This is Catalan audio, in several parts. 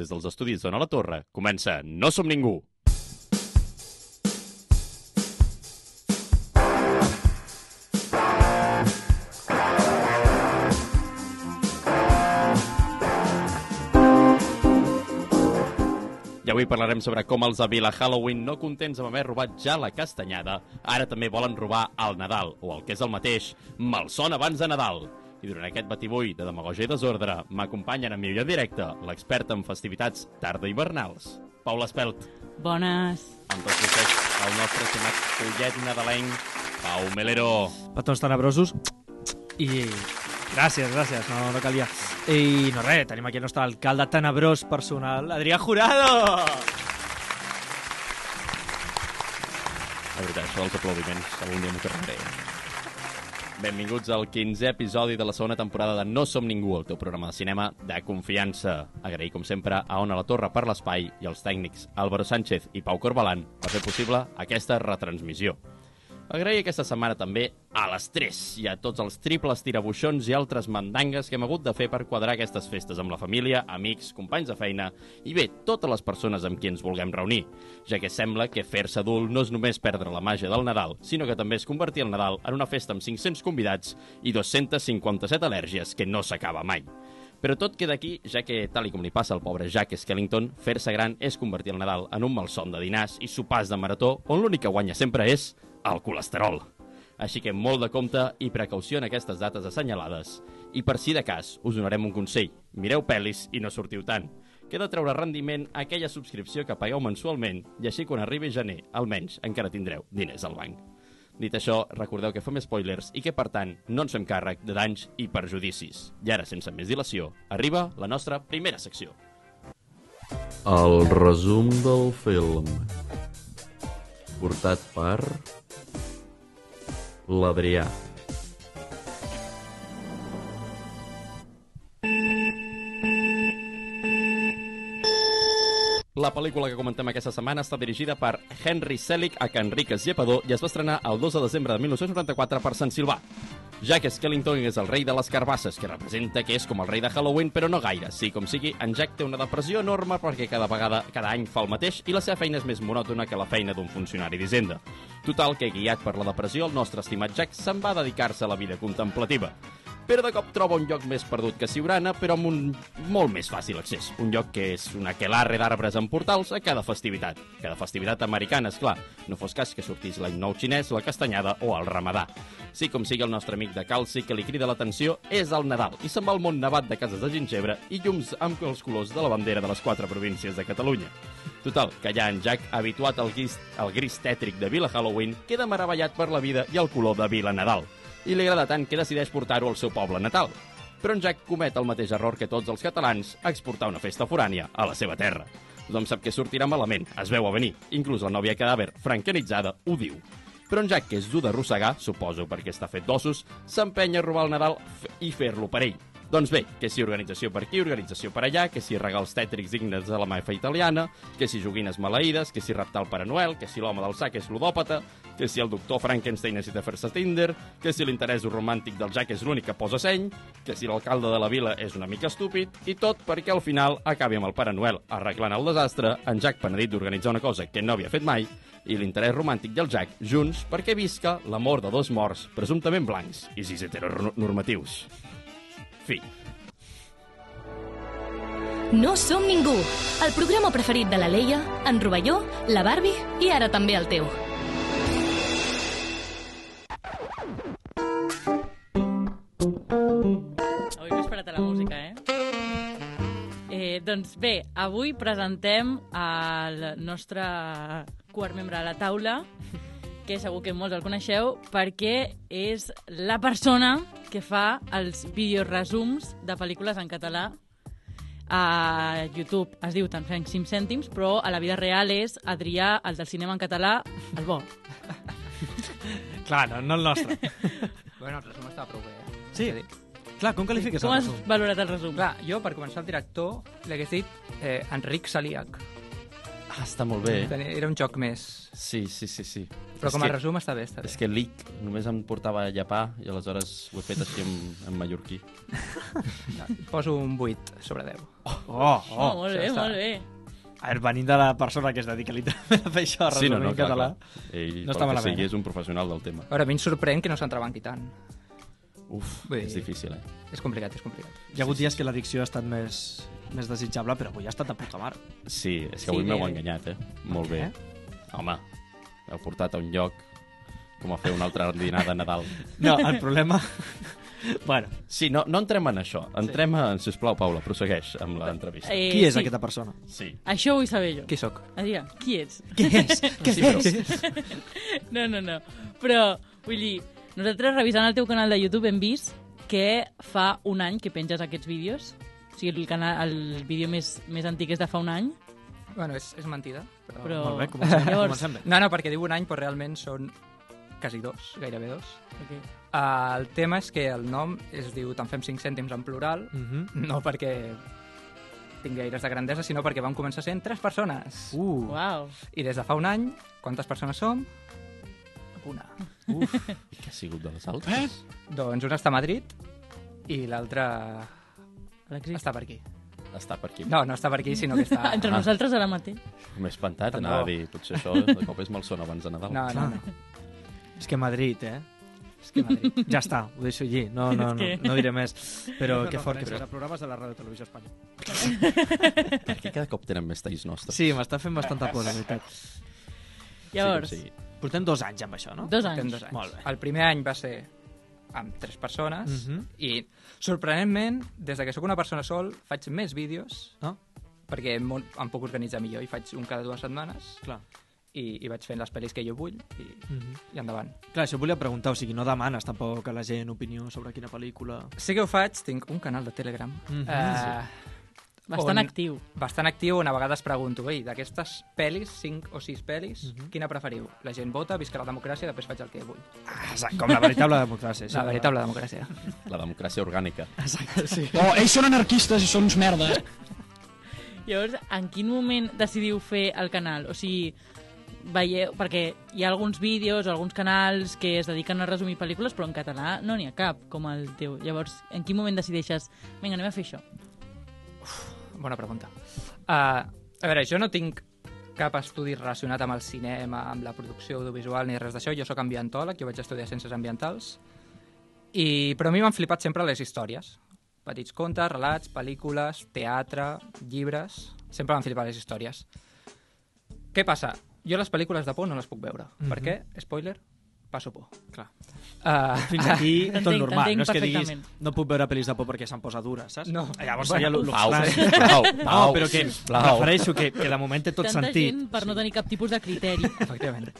Des dels estudis d'Ona la Torre comença No som ningú! I avui parlarem sobre com els de Vila Halloween, no contents amb haver robat ja la castanyada, ara també volen robar el Nadal, o el que és el mateix, malson abans de Nadal. I durant aquest batibull de demagogia i desordre m'acompanyen en millor directe l'experta en festivitats tarda hivernals, Paula Espelt. Bones. Amb tots vostès, el nostre estimat collet nadalenc, Pau Melero. petons tenebrosos i gràcies, gràcies, no, no calia. I no res, tenim aquí el nostre alcalde tenebrós personal, Adrià Jurado! La veritat, això dels aplaudiments, algun dia m'ho carregaré. Benvinguts al 15è episodi de la segona temporada de No Som Ningú, el teu programa de cinema de confiança. Agrair, com sempre, a Ona la Torre per l'espai i als tècnics Álvaro Sánchez i Pau Corbalan per fer possible aquesta retransmissió. Agrair aquesta setmana també a les 3 i a tots els triples tirabuixons i altres mandangues que hem hagut de fer per quadrar aquestes festes amb la família, amics, companys de feina i bé, totes les persones amb qui ens vulguem reunir, ja que sembla que fer-se adult no és només perdre la màgia del Nadal, sinó que també és convertir el Nadal en una festa amb 500 convidats i 257 al·lèrgies que no s'acaba mai. Però tot queda aquí, ja que, tal i com li passa al pobre Jack Skellington, fer-se gran és convertir el Nadal en un malson de dinars i sopars de marató on l'únic que guanya sempre és el colesterol. Així que molt de compte i precaució en aquestes dates assenyalades. I per si de cas, us donarem un consell. Mireu pel·lis i no sortiu tant. Que de treure rendiment a aquella subscripció que pagueu mensualment i així quan arribi gener, almenys, encara tindreu diners al banc. Dit això, recordeu que fem spoilers i que, per tant, no ens fem càrrec de danys i perjudicis. I ara, sense més dilació, arriba la nostra primera secció. El resum del film portat per l'Adrià. La pel·lícula que comentem aquesta setmana està dirigida per Henry Selick a Enriques Llepador i es va estrenar el 2 de desembre de 1994 per Sant Silvà. Jack Skellington és el rei de les carbasses, que representa que és com el rei de Halloween, però no gaire. Sí, com sigui, en Jack té una depressió enorme perquè cada vegada, cada any fa el mateix i la seva feina és més monòtona que la feina d'un funcionari d'Hisenda. Total, que guiat per la depressió, el nostre estimat Jack se'n va dedicar-se a la vida contemplativa però de cop troba un lloc més perdut que Siurana, però amb un molt més fàcil accés. Un lloc que és una quelarre d'arbres amb portals a cada festivitat. Cada festivitat americana, és clar. No fos cas que sortís l'any nou xinès, la castanyada o el ramadà. Sí, com sigui el nostre amic de Calci, que li crida l'atenció, és el Nadal, i se'n va al món nevat de cases de gingebre i llums amb els colors de la bandera de les quatre províncies de Catalunya. Total, que ja en Jack, habituat al gris, al gris tètric de Vila Halloween, queda meravellat per la vida i el color de Vila Nadal i li agrada tant que decideix portar-ho al seu poble natal. Però en Jack comet el mateix error que tots els catalans, exportar una festa forània a la seva terra. Tothom sap que sortirà malament, es veu a venir. Inclús la nòvia cadàver, francanitzada, ho diu. Però en Jack, que és dur d'arrossegar, suposo perquè està fet d'ossos, s'empenya a robar el Nadal f- i fer-lo per ell. Doncs bé, que si organització per aquí, organització per allà, que si regals tètrics dignes de la maifa italiana, que si joguines maleïdes, que si raptar el Pare Noel, que si l'home del sac és ludòpata, que si el doctor Frankenstein necessita fer-se Tinder, que si l'interès romàntic del Jack és l'únic que posa seny, que si l'alcalde de la vila és una mica estúpid, i tot perquè al final acabi amb el Pare Noel arreglant el desastre, en Jack penedit d'organitzar una cosa que no havia fet mai, i l'interès romàntic del Jack junts perquè visca l'amor de dos morts, presumptament blancs i sis heteronormatius. Fi. No som ningú, el programa preferit de la Leia, en Rovelló, la Barbie i ara també el teu. Avui m'he esperat a la música, eh? eh? Doncs bé, avui presentem el nostre quart membre de la taula, que segur que molts el coneixeu, perquè és la persona que fa els videoresums de pel·lícules en català a YouTube. Es diu tan Frank Sim Cèntims, però a la vida real és Adrià, el del cinema en català, el bo. Clar, no, no el nostre. Bueno, el resum està prou bé, eh? Sí. És a dir, Clar, com qualifiques Com el has resum? valorat el resum? Clar, jo, per començar, el director l'hagués dit eh, Enric Saliac. Ah, està molt bé, eh? Tenia- Era un joc més. Sí, sí, sí, sí. Però És com a que- resum està bé, està bé. És que l'IC només em portava llapar i aleshores ho he fet així en, en mallorquí. No, poso un 8 sobre 10. Oh, Oh, oh, molt ja bé, està. molt bé A veure, venim de la persona que es dedica literalment a fer això, a resumir en català. clar. Ell, No no pel està que malament, sigui, eh? és un professional del tema. A veure, a mi em sorprèn que no s'entrebanqui tant. Uf, Bé. és difícil, eh? És complicat, és complicat. Hi ha hagut dies que l'addicció ha estat més, més desitjable, però avui ha estat de puta mare. Sí, és Sí, que avui m'heu bé. enganyat, eh? Molt bé. Home, heu portat a un lloc com a fer una altra dinar de Nadal. No, el problema... bueno, Sí, no, no entrem en això. Entrem en, sisplau, Paula, prossegueix amb l'entrevista. Eh, qui és sí. aquesta persona? Sí. Això ho vull saber jo Qui sóc? Adrià, qui ets? Què és? Què Sí, però- és? No, no, no. Però, vull dir, nosaltres revisant el teu canal de YouTube hem vist que fa un any que penges aquests vídeos. O sigui, el, canal, el vídeo més, més antic és de fa un any, Bueno, és, és mentida, però... però... Molt bé, comencem, Llavors- comencem bé. No, no, perquè diu un any, però realment són quasi dos, gairebé dos. Okay. Uh, el tema és que el nom es diu Te'n fem 5 cèntims en plural, Mhm. no perquè tinc gaires de grandesa, sinó perquè vam començar sent tres persones. Uh, Uau. I des de fa un any, quantes persones som? Una. uf. I què ha sigut de les altres? Eh? Doncs una està a Madrid i l'altra Alexis. està per aquí. Està per aquí. No, no està per aquí, sinó que està... Entre Ah. nosaltres ara mateix. M'he espantat, Tampoc. anava a dir, potser això de cop és malson abans de Nadal. No, no, no. És que Madrid, eh? És que Madrid. Ja està, ho deixo allí. No, no, no, que- no diré més. Però que fort que fort. programes de la Ràdio Televisió Espanyola. Perquè cada cop tenen més talls nostres. Sí, m'està fent bastanta por, la veritat. Llavors, Sí, sí. Portem dos anys amb això, no? dos Portem anys. dos anys. Molt bé. El primer any va ser amb tres persones Mhm. i, sorprenentment, des de que sóc una persona sol, faig més vídeos Ah. perquè m'ho- em puc organitzar millor i faig un cada dues setmanes Clar. i, i vaig fent les pel·lis que jo vull i, Mhm. i endavant. Clar, això volia preguntar, o sigui, no demanes tampoc a la gent opinió sobre quina pel·lícula... Sí que ho faig, tinc un canal de Telegram Mhm, eh, Bastant on- actiu. bastant actiu on a vegades pregunto, ei, d'aquestes pel·lis, 5 o 6 pel·lis, quina preferiu? La gent vota, visca la democràcia, després faig el que vull. Ah, exacte, com la veritable democràcia. La veritable democràcia. La democràcia orgànica. Oh, ells són anarquistes i són uns merdes. Llavors, en quin moment decidiu fer el canal? O sigui, veieu, perquè hi ha alguns vídeos, alguns canals que es dediquen a resumir pel·lícules, però en català no n'hi ha cap, com el teu. Llavors, en quin moment decideixes, vinga, anem a fer això? Bona pregunta. Uh, a veure, jo no tinc cap estudi relacionat amb el cinema, amb la producció audiovisual ni res d'això. Jo sóc ambientòleg, jo vaig estudiar Ciències Ambientals. I, però a mi m'han flipat sempre les històries. Petits contes, relats, pel·lícules, teatre, llibres... Sempre m'han flipat les històries. Què passa? Jo les pel·lícules de por no les puc veure. Mm -hmm. Per què? Spoiler, passo por. Clar. Uh, Fins aquí, tot T'entenc, normal. t'entenc No és que diguis, perfectament. no puc veure pel·lis de por perquè se'm posa dura, saps? No. Llavors Bueno, seria lo- lo Pau, estrany. sisplau, Pau, No, però que sisplau. prefereixo que, que de moment té tot Tanta sentit. gent per no tenir cap tipus de criteri. Efectivament.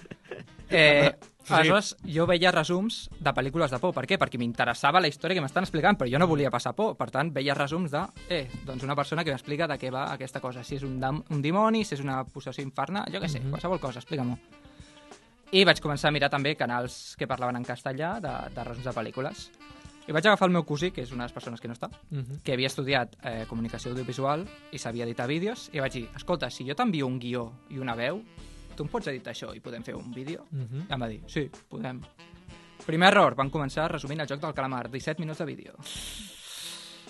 Eh, aleshores, jo veia resums de pel·lícules de por. Per què? Perquè m'interessava la història que m'estan explicant, però jo no volia passar por. Per tant, veia resums de, eh, doncs una persona que m'explica de què va aquesta cosa. Si és un, dam un dimoni, si és una possessió infernal, jo què sé, qualsevol cosa, explica-m'ho. I vaig començar a mirar també canals que parlaven en castellà de, de resums de pel·lícules. I vaig agafar el meu cosí, que és una de les persones que no està, Mhm. que havia estudiat eh, comunicació audiovisual i sabia editar vídeos, i vaig dir, escolta, si jo t'envio un guió i una veu, tu em pots editar això i podem fer un vídeo? Mhm. I em va dir, sí, podem. Primer error, van començar resumint el joc del calamar, 17 minuts de vídeo.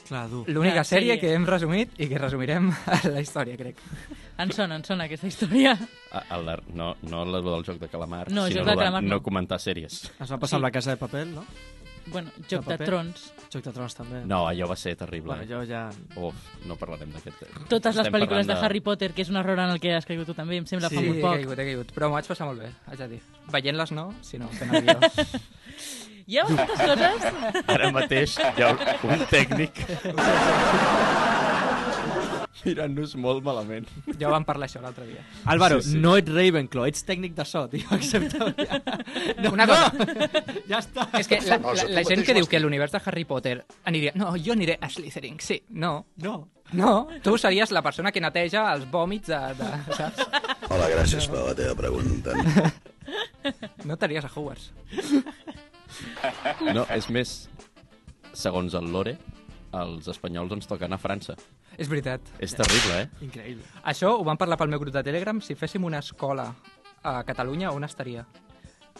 Clar, dur. L'única Clar, sí. sèrie que hem resumit i que resumirem a la història, crec. En sona, en sona aquesta història. A- a la- No, no la del joc de calamar, No, sinó joc de la calamar no. no comentar sèries. Es va passar Sí. amb la casa de paper, no? Bueno, Joc De de paper. Trons. Joc de trons també. No, allò va ser terrible. Bueno, Bueno, jo ja... Uf, no parlarem d'aquest tema. Totes les Estem pel·lícules de... parlant Harry Potter, que és un error en el que has caigut tu també, em sembla, Sí, fa he molt poc. caigut, he caigut. Però m'ho vaig passar molt bé, haig de dir. Veient-les no, sinó fent el guió. Hi ha bastantes coses... Ara mateix hi ha un tècnic mirant-nos molt malament. Ja vam parlar això l'altre dia. Álvaro, Sí, sí. no ets Ravenclaw, ets tècnic de so, tio, accepta. No, Una cosa, ja està. És que la, la, la gent que diu que l'univers de Harry Potter aniria... No, jo aniré a Slytherin, sí. No, No. no. Tu series la persona que neteja els vòmits de... de saps? Hola, gràcies per la teva pregunta. No estaries a Hogwarts. No, és més, segons el Lore, els espanyols ens toquen a França. És veritat. És terrible, eh? Increïble. Això ho vam parlar pel meu grup de Telegram. Si féssim una escola a Catalunya, on estaria?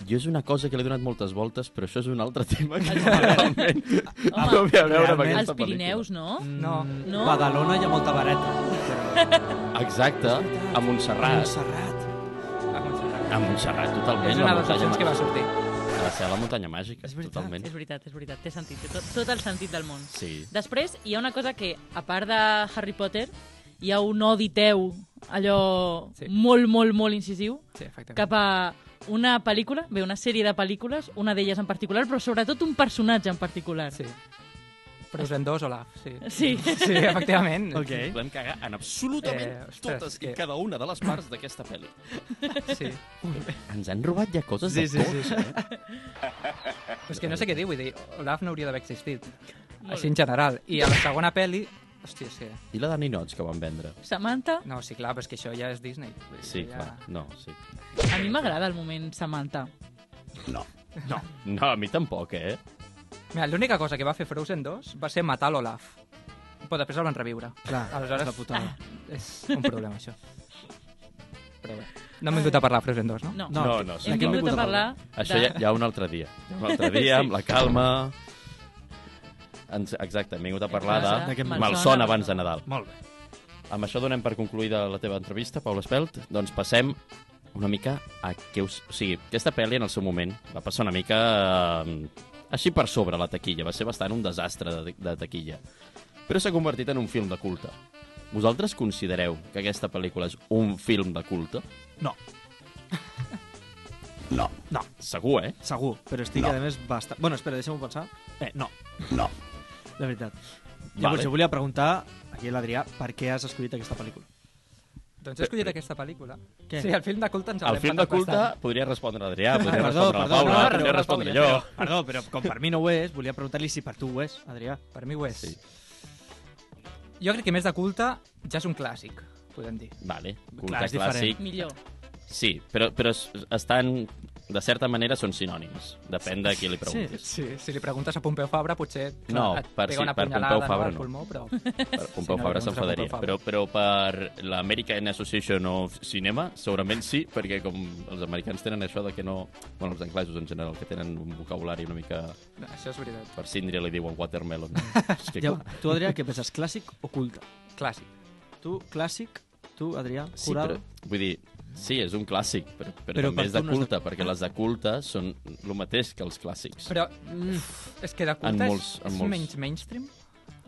Jo és una cosa que l'he donat moltes voltes, però això és un altre tema que realment Home, no ve a veure amb realment. aquesta Als Pirineus, no? No. No? Badalona hi ha molta vareta. pel·lícula. Exacte, a Montserrat. Montserrat. A Montserrat. A Montserrat, totalment. Ah, doncs, eh, És una la de les muntanya opcions que va màgica. sortir. Ha de ser la muntanya màgica, És veritat, totalment. És veritat, és veritat, té sentit, té tot, tot el sentit del món. Sí. Després, hi ha una cosa que, a part de Harry Potter, hi ha un odi teu, allò Sí. sí. molt, molt, molt incisiu, Sí, efectivament. cap a una pel·lícula, bé, una sèrie de pel·lícules, una d'elles en particular, però sobretot un personatge en particular. Sí. Frozen 2 o Olaf, sí. Sí. Sí, efectivament. Ok. Volem cagar en absolutament Eh, eh, ostres, totes i eh. cada una de les parts d'aquesta pel·li. Sí. Ens han robat ja coses Sí, de sí, tot, sí, sí. eh? Però és que no sé què dir, vull dir, Olaf no hauria d'haver existit. Molt Així bé. en general. I a la segona pel·li... Hòstia, sí. I la Dani Nots que van vendre. Samantha, No, sí, clar, però és que això ja és Disney. Vull dir, Sí, ja... clar. No, sí. a mi m'agrada el moment Samantha. No. No, a mi tampoc, eh? Mira, l'única cosa que va fer Frozen 2 va ser matar l'Olaf. Però després el van reviure. Clar, Aleshores- és la putada. És un problema, això. Però bé. No hem vingut a parlar de Frozen 2, no? No, No, no, sí. hem Aquí hem vingut a vingut a parlar Això de... ja, ja un altre dia. Un altre dia, amb la calma... Ens, exacte, hem vingut a parlar de, De què de malson malson abans de abans de Nadal. Molt bé. Amb això donem per concluïda la teva entrevista, Paula Espelt. Doncs passem una mica a què us... O sigui, aquesta pel·li en el seu moment va passar una mica eh, així per sobre la taquilla. Va ser bastant un desastre de, de taquilla. Però s'ha convertit en un film de culte. Vosaltres considereu que aquesta pel·lícula és un film de culte? No, No. Segur, eh? segur, però estic, No. a més, bastant... Bueno, espera, deixa'm-ho pensar. Eh, no, No. de veritat. Llavors, jo volia preguntar aquí a l'Adrià per què has escollit aquesta pel·lícula. Doncs he escollit aquesta pel·lícula. Què? Sí, el film de culte ens El l'hem film de patat culte bastant. podria respondre l'Adrià, podria Perdó, respondre la perdó, Paula, no, podria però- respondre Paula, jo. Perdó, però com per mi no ho és, volia preguntar-li si per tu ho és, Adrià. Per mi ho és. Sí. Jo crec que més de culte ja és un clàssic, podem dir. Vale, culte Clar, és diferent. clàssic. Millor. Sí, però, però es- estan, de certa manera, són sinònims. Depèn de qui li preguntis. Sí, si li preguntes a Pompeu Fabra, potser clar, No, et per- pega sí, una per punyalada Pompeu Fabra no. no, al pulmó, però... Per Pompeu Sí, no, Fabra doncs, s'enfadaria. Pompeu Però, Fabra. però per l'American Association of Cinema, segurament sí, perquè com els americans tenen això de que no... Bueno, els anglesos en general, que tenen un vocabulari una mica... No, això és veritat. Per síndria li diuen watermelon. És que, Ja, tu, Adrià, què penses, clàssic o culte? Clàssic. Tu, clàssic, tu, Adrià, Sí, jurado... però, vull dir, sí, és un clàssic, però, però, Però però també per és de tu no és de- Ah. culte, perquè les de culte són el mateix que els clàssics. Però uf, és que de culte és- molts- en és, molts. menys mainstream?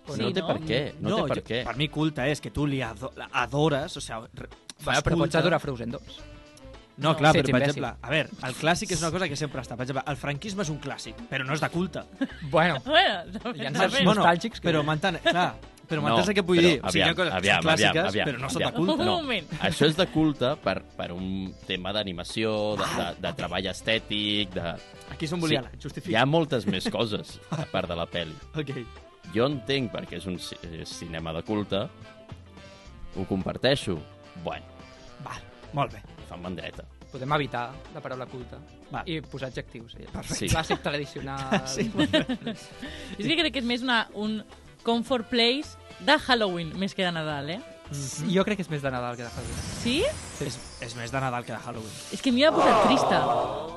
Sí, no té no? per què, no, té per jo, què. Per mi culte és que tu li ado la adores, o sigui... re- Va, fas però culte. pots adorar Frozen 2. No, No. clar, Sí, ets però per imbècil. exemple, a veure, el clàssic és una cosa que sempre està. Per exemple, el franquisme és un clàssic, però no és de culte. Bueno, Bueno, Hi ha també. certs nostàlgics que- Però m'entén, clar, però No, m'entens el que vull però dir. O sigui, hi ha aviam, coses que aviam, són clàssiques, aviam, aviam, però no són de aviam. culte. Un No. moment. Això és de culte per, per un tema d'animació, de, de, de treball estètic, de... Aquí és on Sí. volia anar, Hi ha justifica. moltes més coses, a part de la pel·li. Ok. Jo entenc perquè és un ci- eh, cinema de culte, ho comparteixo. Bueno, Val, molt bé. fan mandreta. podem evitar la paraula culte Va. i posar adjectius. Ja. Perfecte. Clàssic tradicional... Sí, És que crec que és més una, un comfort place de Halloween, més que de Nadal, eh? Jo crec que és més de Nadal que de Halloween. Sí? És, és més de Nadal que de Halloween. És que m'hi ha posat trista,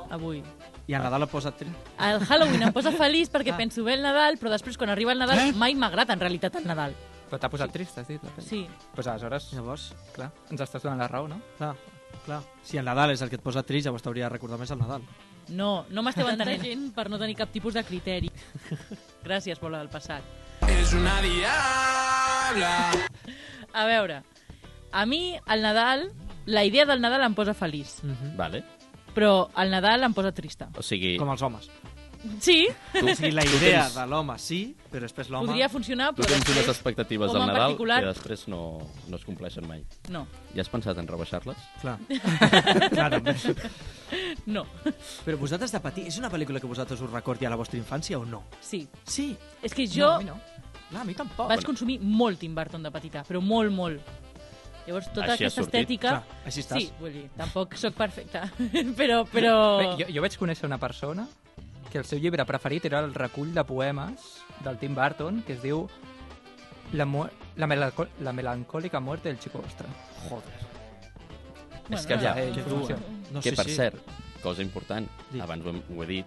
avui. I a Nadal ha posat... tri- El Halloween em posa feliç perquè penso bé el Nadal, però després, quan arriba el Nadal, Ah. eh? mai m'agrada en realitat el Nadal. Però t'ha posat trist, has dit? la peli? Sí. Pues aleshores, Llavors, clar, ens estàs donant la raó, no? clar, clar. Si el Nadal és el que et posa trist, llavors t'hauria de recordar més el Nadal. No, no m'esteu entenent gent per no tenir cap tipus de criteri. Gràcies, bola del passat. És una diabla! A veure, a mi el Nadal, la idea del Nadal em posa feliç, Vale? però el Nadal em posa trista. O sigui, Mhm. Com els homes. Sí, tu, O sigui, la tu idea tens- de l'home sí, però després l'home... podria funcionar, Tu però tens unes després... expectatives home del en Nadal particular- que després no, no es compleixen mai. No, Ja has pensat en rebaixar-les? Clar. clar, també. no, Però vosaltres de petit, és una pel·lícula que vosaltres us recordi a la vostra infància o no? sí. Sí. És que jo No, a mi no. Clar, a mi tampoc. vaig consumir molt Tim Burton de petita, però molt, molt. Llavors, tota Així ha aquesta sortit. estètica... Clar, així estàs. Sí, vull dir, tampoc sóc perfecta, però... però... Bé, jo, jo vaig conèixer una persona que el seu llibre preferit era el recull de poemes del Tim Burton, que es diu La, mu- la, melanco- la melancólica muerte del chico ostra. Joder. És que ja, Eh, informació. No, que sí, per sí. cert, cosa important, Dic. abans ho, hem, ho he dit,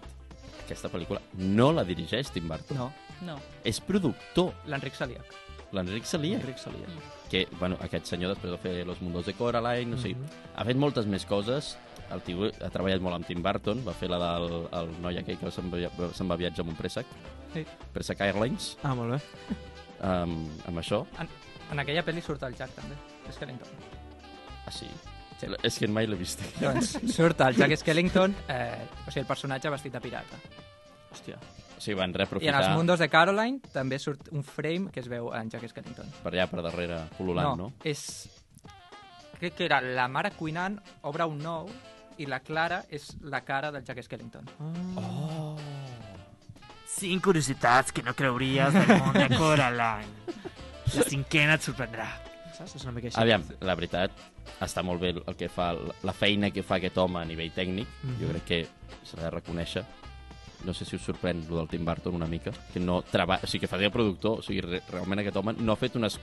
aquesta pel·lícula no la dirigeix Tim Burton. No, No. És productor, l'Enric Saliac. l'Enric Salia, Enric Salia. que, bueno, aquest senyor després de fer Los Mundos de Coraline, no sé, Mhm. ha fet moltes més coses, el tio ha treballat molt amb Tim Burton, va fer la del el noi aquell que se'n va, se'n va a viatge amb un préssec, Sí. préssec Airlines, Ah, molt bé. amb, amb això. En aquella pel·li surt el Jack, també. Skellington. Ah, sí? Sí. És que mai l'he vist. Doncs surt el Jack Skellington, eh, o sigui, el personatge vestit de pirata. Hòstia. O sigui, van I en reaprofitar els mundos de Caroline també surt un frame que es veu en Jack Skellington. per allà, per darrere, pol·lulant, no? és... Crec que era la mare cuinant, obre un nou, i la Clara és la cara del Jack Skellington. Cinc curiositats que no creuries del món de Coraline. La cinquena et sorprendrà. Ah, Saps? És una mica així. Aviam, la veritat, està molt bé el que fa, la feina que fa aquest home a nivell tècnic. Jo crec que s'ha de reconèixer. No sé si us sorprèn el del Tim Burton una mica, que no treballa... O sigui, que fa de productor, o sigui, re realment aquest home no ha fet unes...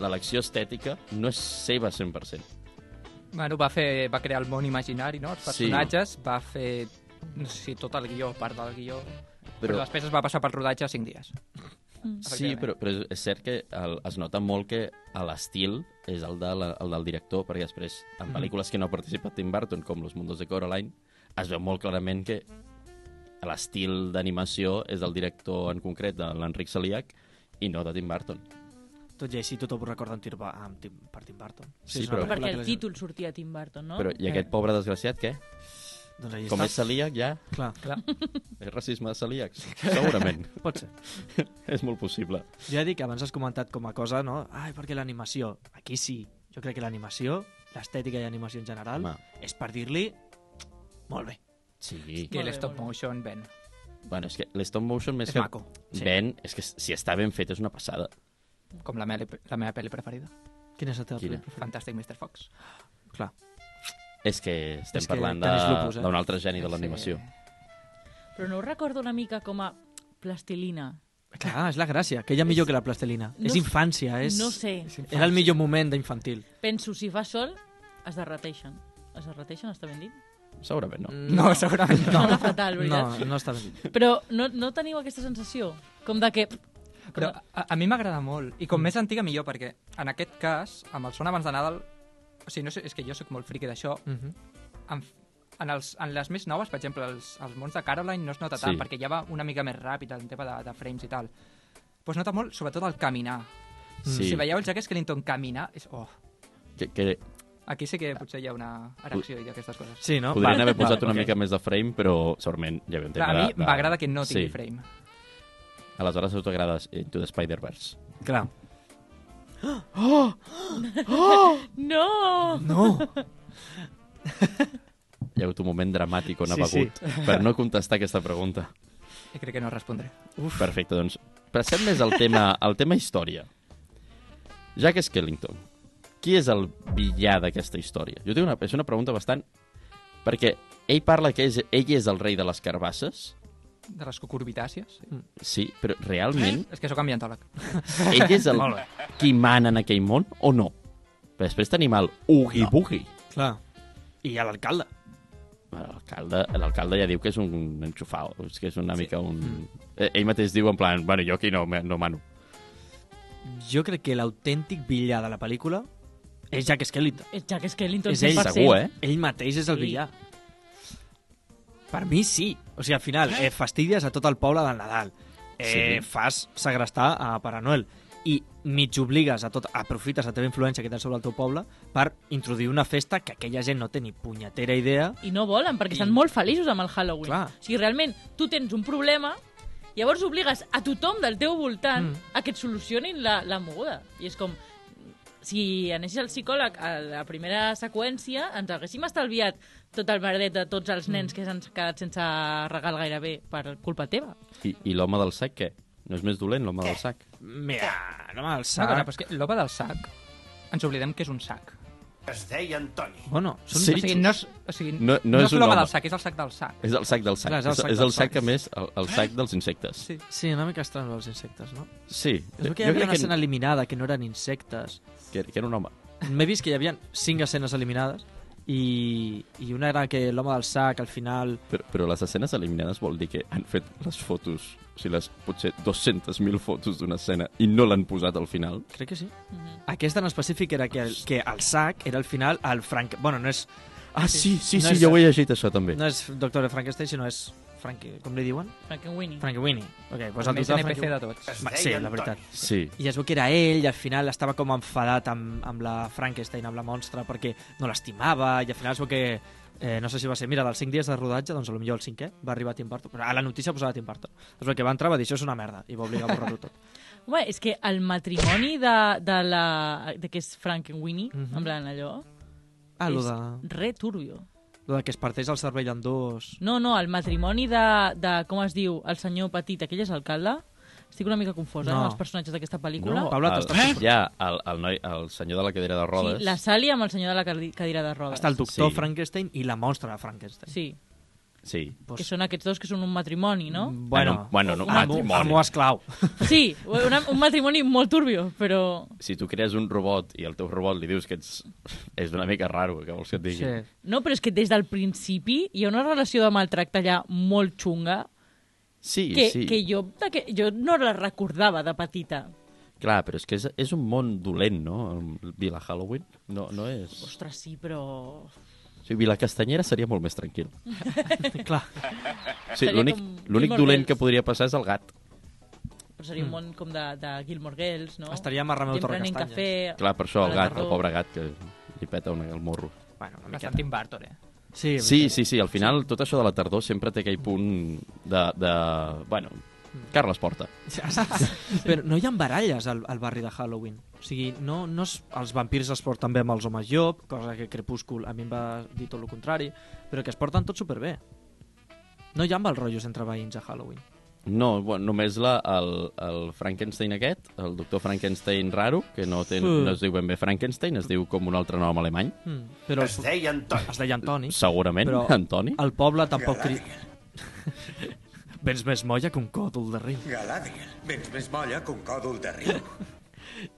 L'elecció estètica no és seva 100%. Ah. Bueno, va, fer, va crear el món imaginari, no? Els Sí. personatges, sí. va fer no sé si tot el guió, part del guió, però, però després es va passar pel rodatge 5 dies. Sí, efectivament. però, però és- és cert que el, es nota molt que a l'estil és el, de la, el del director, perquè després, en pel·lícules que no ha participat Tim Burton, com Los Mundos de Coraline, es veu molt clarament que l'estil d'animació és del director en concret, de l'Enric Saliac, i no de Tim Burton. Tot i així, tothom ho recorda amb Tim, Ba- amb Tim, per Tim Burton. Sí, és una però- pel·lícula Perquè que el la gent- títol sortia a Tim Burton, no? Però, I aquest pobre desgraciat, què? Doncs allà Com està. és celíac, ja? Clar, Clar. És racisme de celíacs? Segurament. pot ser. és molt possible. Jo ja dic, abans has comentat com a cosa, no? Ai, perquè l'animació. Aquí sí. Jo crec que l'animació, l'estètica i animació en general, Home. és per dir-li... Molt bé. Sí. Que Molt bé, l'stop molt bé. motion ven. Bueno, és que l'stop motion més És que... maco. Sí. Ben, és que si està ben fet és una passada. Com la meva, la meva pel·li preferida. Quina és la teva Quina? pel·lícula? Fantàstic Mr. Fox. Clar. És que estem És que parlant de- Dennis Lupus, eh? d'un altre geni de l'animació. Però no ho recordo una mica com a plastilina. Clar, és la gràcia, que ella millor que la plastelina. No és sé- infància, és... No sé. Era el millor moment d'infantil. Penso, si fa sol, es derreteixen. Es derreteixen, està ben dit? Segurament no. Mm, No, segurament no. Sona fatal, veritat. No, no està ben dit. Però no, no teniu aquesta sensació? Com de que... Però a, a mi m'agrada molt. I com Mm. més antiga, millor, perquè en aquest cas, amb el son abans de Nadal... O sigui, no sé, és que jo sóc molt friqui d'això. Mm. Uh -huh. En, en, els, en les més noves, per exemple, els, els mons de Caroline no es nota Sí. tant, perquè ja va una mica més ràpid el tema de, de frames i tal. Però es nota molt, sobretot, el caminar. Sí. Mm, Si veieu el Jack Skellington caminar, és... Oh, Que, que aquí sí que potser hi ha una erecció i d'aquestes coses. Sí, no? podrien Va, haver va, posat una ok. mica més de frame, però segurament ja ve un tema Clar, a de- mi de- m'agrada que no tingui sí. sí. frame. Aleshores, si t'agrada Into the Spider-Verse. Clar. No! No! Hi ha hagut un moment dramàtic on ha Sí, sí. begut per no contestar aquesta pregunta. I crec que no respondré. Uf. Perfecte, doncs passem més al tema, al tema història. Jack Skellington, qui és el villà d'aquesta història? Jo tinc una, és una pregunta bastant... Perquè ell parla que és, ell és el rei de les carbasses, De les cucurbitàcies. sí, però realment És que sóc ambientòleg. Eh? ell és el qui mana en aquell món o no? Però després tenim el Oogie Boogie. Clar. I a l'alcalde. L'alcalde l'alcalde ja diu que és un enxufal, és que és una mica un... Mm. Eh, Ell mateix diu en plan, bueno, jo aquí no, me- no mano. Jo crec que l'autèntic villà de la pel·lícula és Jack Skellington. És Jack Skellington, És ell, 100%. Segur, eh? Ell mateix és el Sí. villà. Per mi sí. O sigui, al final, eh, fastidies a tot el poble del Nadal. Eh, Sí. sí. Fas segrestar a Pare Noel. I mig obligues a tot... Aprofites la teva influència que tens sobre el teu poble per introduir una festa que aquella gent no té ni punyetera idea. I no volen, perquè estan molt feliços amb el Halloween. Clar. O sigui, realment, tu tens un problema, llavors obligues a tothom del teu voltant mm. a que et solucionin la, la moguda. I és com, si anessis al psicòleg a la primera seqüència, ens haguéssim estalviat tot el merdet de tots els nens mm. que s'han quedat sense regal gairebé per culpa teva. I, i l'home del sac, què? No és més dolent, l'home del sac? Mira, no me'l Una cosa, sac. però és que l'ova del sac, ens oblidem que és un sac. Es deia Antoni. Bueno, són- Sí. o sigui, no és- o sigui, No, no, no és és, un l'home home. del sac, és el sac del sac. És el sac del sac. Clar, és el sac és, del el sac sac. Eh? que més, el, el sac dels insectes. Sí. Sí, una mica estrany els insectes, no? Sí. És que hi Jo havia crec una que- escena eliminada que no eren insectes. Que, que era un home. M'he vist que hi havia cinc escenes eliminades i, i una era que l'home del sac al final... Però, però les escenes eliminades vol dir que han fet les fotos, o sigui, les potser 200.000 fotos d'una escena i no l'han posat al final. Crec que sí. Aquesta en específic era que el, que el sac era al final el Frank... Bueno, no és... Ah, sí, sí, no sí, és- jo ho he llegit, això, també. No és Doctor Frankenstein, sinó és... Frankie, com li diuen? Frankenweenie. Frankenweenie. Ok, doncs El més doctor NPC de tots. Va, Sí, la veritat. Sí. I es veu que era ell i al final estava com enfadat amb, amb la Frankenstein, amb la monstra, perquè no l'estimava i al final es veu que... Eh, no sé si va ser, mira, dels 5 dies de rodatge, doncs potser el cinquè va arribar Tim Burton. Però a la notícia posava Tim Burton. Es veu que va entrar, va dir, això és una merda, i va obligar a borrar-ho tot. Home, és que el matrimoni de, de la... de que és Frankenweenie, mm Mhm. -hmm. en plan allò... Ah, lo és de- re turbio. Lo de que es parteix el cervell en dos... No, no, el matrimoni de, de com es diu, el senyor Petit, aquell és alcalde? Estic una mica confosa eh, No. amb els personatges d'aquesta pel·lícula. el, eh? Hi ha el, el, noi, el senyor de la cadira de rodes. Sí, la Sally amb el senyor de la cadi- cadira de rodes. Està el doctor Eh? Sí. sí. Frankenstein i la monstra de Frankenstein. Sí, Sí. que són aquests dos que són un matrimoni, no? Bueno, Ah, no, bueno, no, Una- matrimoni. Amo esclau. Sí, una, un matrimoni molt turbio, però... Si tu crees un robot i al teu robot li dius que ets... És una mica raro, que vols que et digui. Sí. No, però és que des del principi hi ha una relació de maltracte allà molt xunga Sí, que, sí. que, jo, de que jo no la recordava de petita. Clar, però és que és, és un món dolent, no? El Vila Halloween no, no és... Ostres, sí, però... O sigui, Vila Castanyera seria molt més tranquil. Clar. Sí, Seria L'únic com l'únic Gilmore dolent Girls. que podria passar és el gat. Però seria Mm. un món com de, de Gilmore Girls, no? Estaríem a Romeu Gent prenent Torrecastanyes. cafè, Clar, per això a el la gat, tardor. el pobre gat, que li peta una, el morro. Bueno, una Bastant Tim Burton, eh? Sí, sí, sí, sí, al final tot això de la tardor sempre té aquell punt de... de bueno, Carles Porta. Però no hi ha baralles al, al barri de Halloween. O sigui, no, no es, els vampirs es porten bé amb els homes llop, cosa que Crepúscul a mi em va dir tot el contrari, però que es porten tot superbé. No hi ha mal rotllos entre veïns a Halloween. No, bueno, només la, el, el Frankenstein aquest, el doctor Frankenstein raro, que no, té, Mm. no es diu ben bé Frankenstein, es diu com un altre nom alemany. Mm, però es deia Antoni. Es deia Antoni. Segurament, però Antoni. El poble tampoc... Cri... Vens més molla que un còdol de riu. Galadriel, vens més molla que un còdol de riu.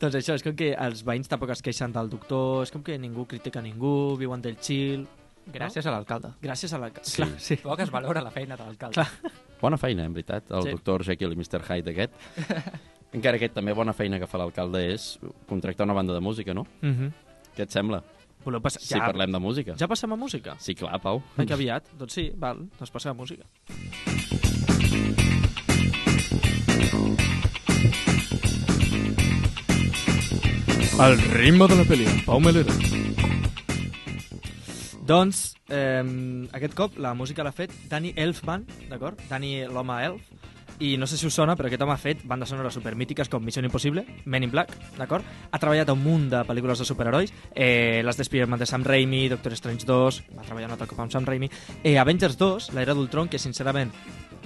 Doncs això, és com que els veïns tampoc es queixen del doctor, és com que ningú critica ningú, viuen del chill... Gràcies a l'alcalde. Gràcies a l'alcalde. Sí. Clar, sí. Poc es valora la feina de l'alcalde. Bona feina, eh, en veritat, el Sí. sí. doctor Jekyll i Mr. Hyde aquest. Encara que també bona feina que fa l'alcalde és contractar una banda de música, no? Mhm. Què et sembla? Voleu passar- Si ja- parlem de música. Ja passem a música? Sí, clar, Pau. Ai, que aviat. Doncs sí, val, doncs passem a música. Al ritme de la pel·li, en Pau Melera. Doncs, eh, aquest cop la música l'ha fet Danny Elfman, d'acord? Danny l'home elf. I no sé si us sona, però aquest home ha fet bandes sonores supermítiques com Missió Impossible, Men in Black, d'acord? Ha treballat a un munt de pel·lícules de superherois, eh, les de Spider-Man de Sam Raimi, Doctor Strange 2, va treballar un altre cop amb Sam Raimi, eh, Avengers 2, l'era d'Ultron, que sincerament,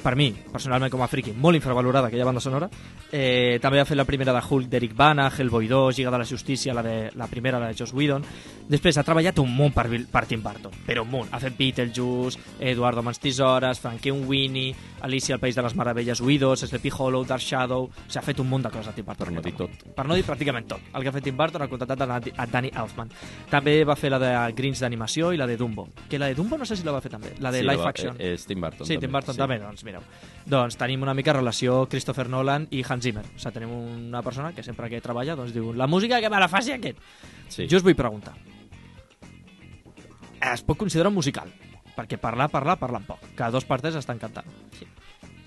per mi, personalment com a friki, molt infravalorada aquella banda sonora. Eh, també va fer la primera de Hulk d'Eric Bana, Hellboy 2, Lliga de la Justícia, la, de, la primera, la de Joss Whedon. Després ha treballat un munt per, Bill- per Tim Burton, però un munt. Ha fet Beetlejuice, Eduardo Mans Tisores, Frankenweenie, Alicia al País de les Meravelles, Widows, Sleepy Hollow, Dark Shadow... O sigui, ha fet un munt de coses a Tim Burton. Per no dir tot. Per no dir pràcticament tot. El que ha fet Tim Burton ha contractat a Nat- a Danny Elfman. També va fer la de Grins d'animació i la de Dumbo. Que la de Dumbo no sé si la va fer també. La de Sí, la Live va- Action. eh, és Tim Burton, Sí, també. Tim Burton Sí. també, doncs mireu. Doncs tenim una mica relació Christopher Nolan i Hans Zimmer. O sigui, tenim una persona que sempre que treballa doncs diu la música que me la faci aquest. Sí. Jo us vull preguntar. Es pot considerar un musical? Perquè parlar, parlar, parlar poc. Cada dos partes estan cantant. Sí.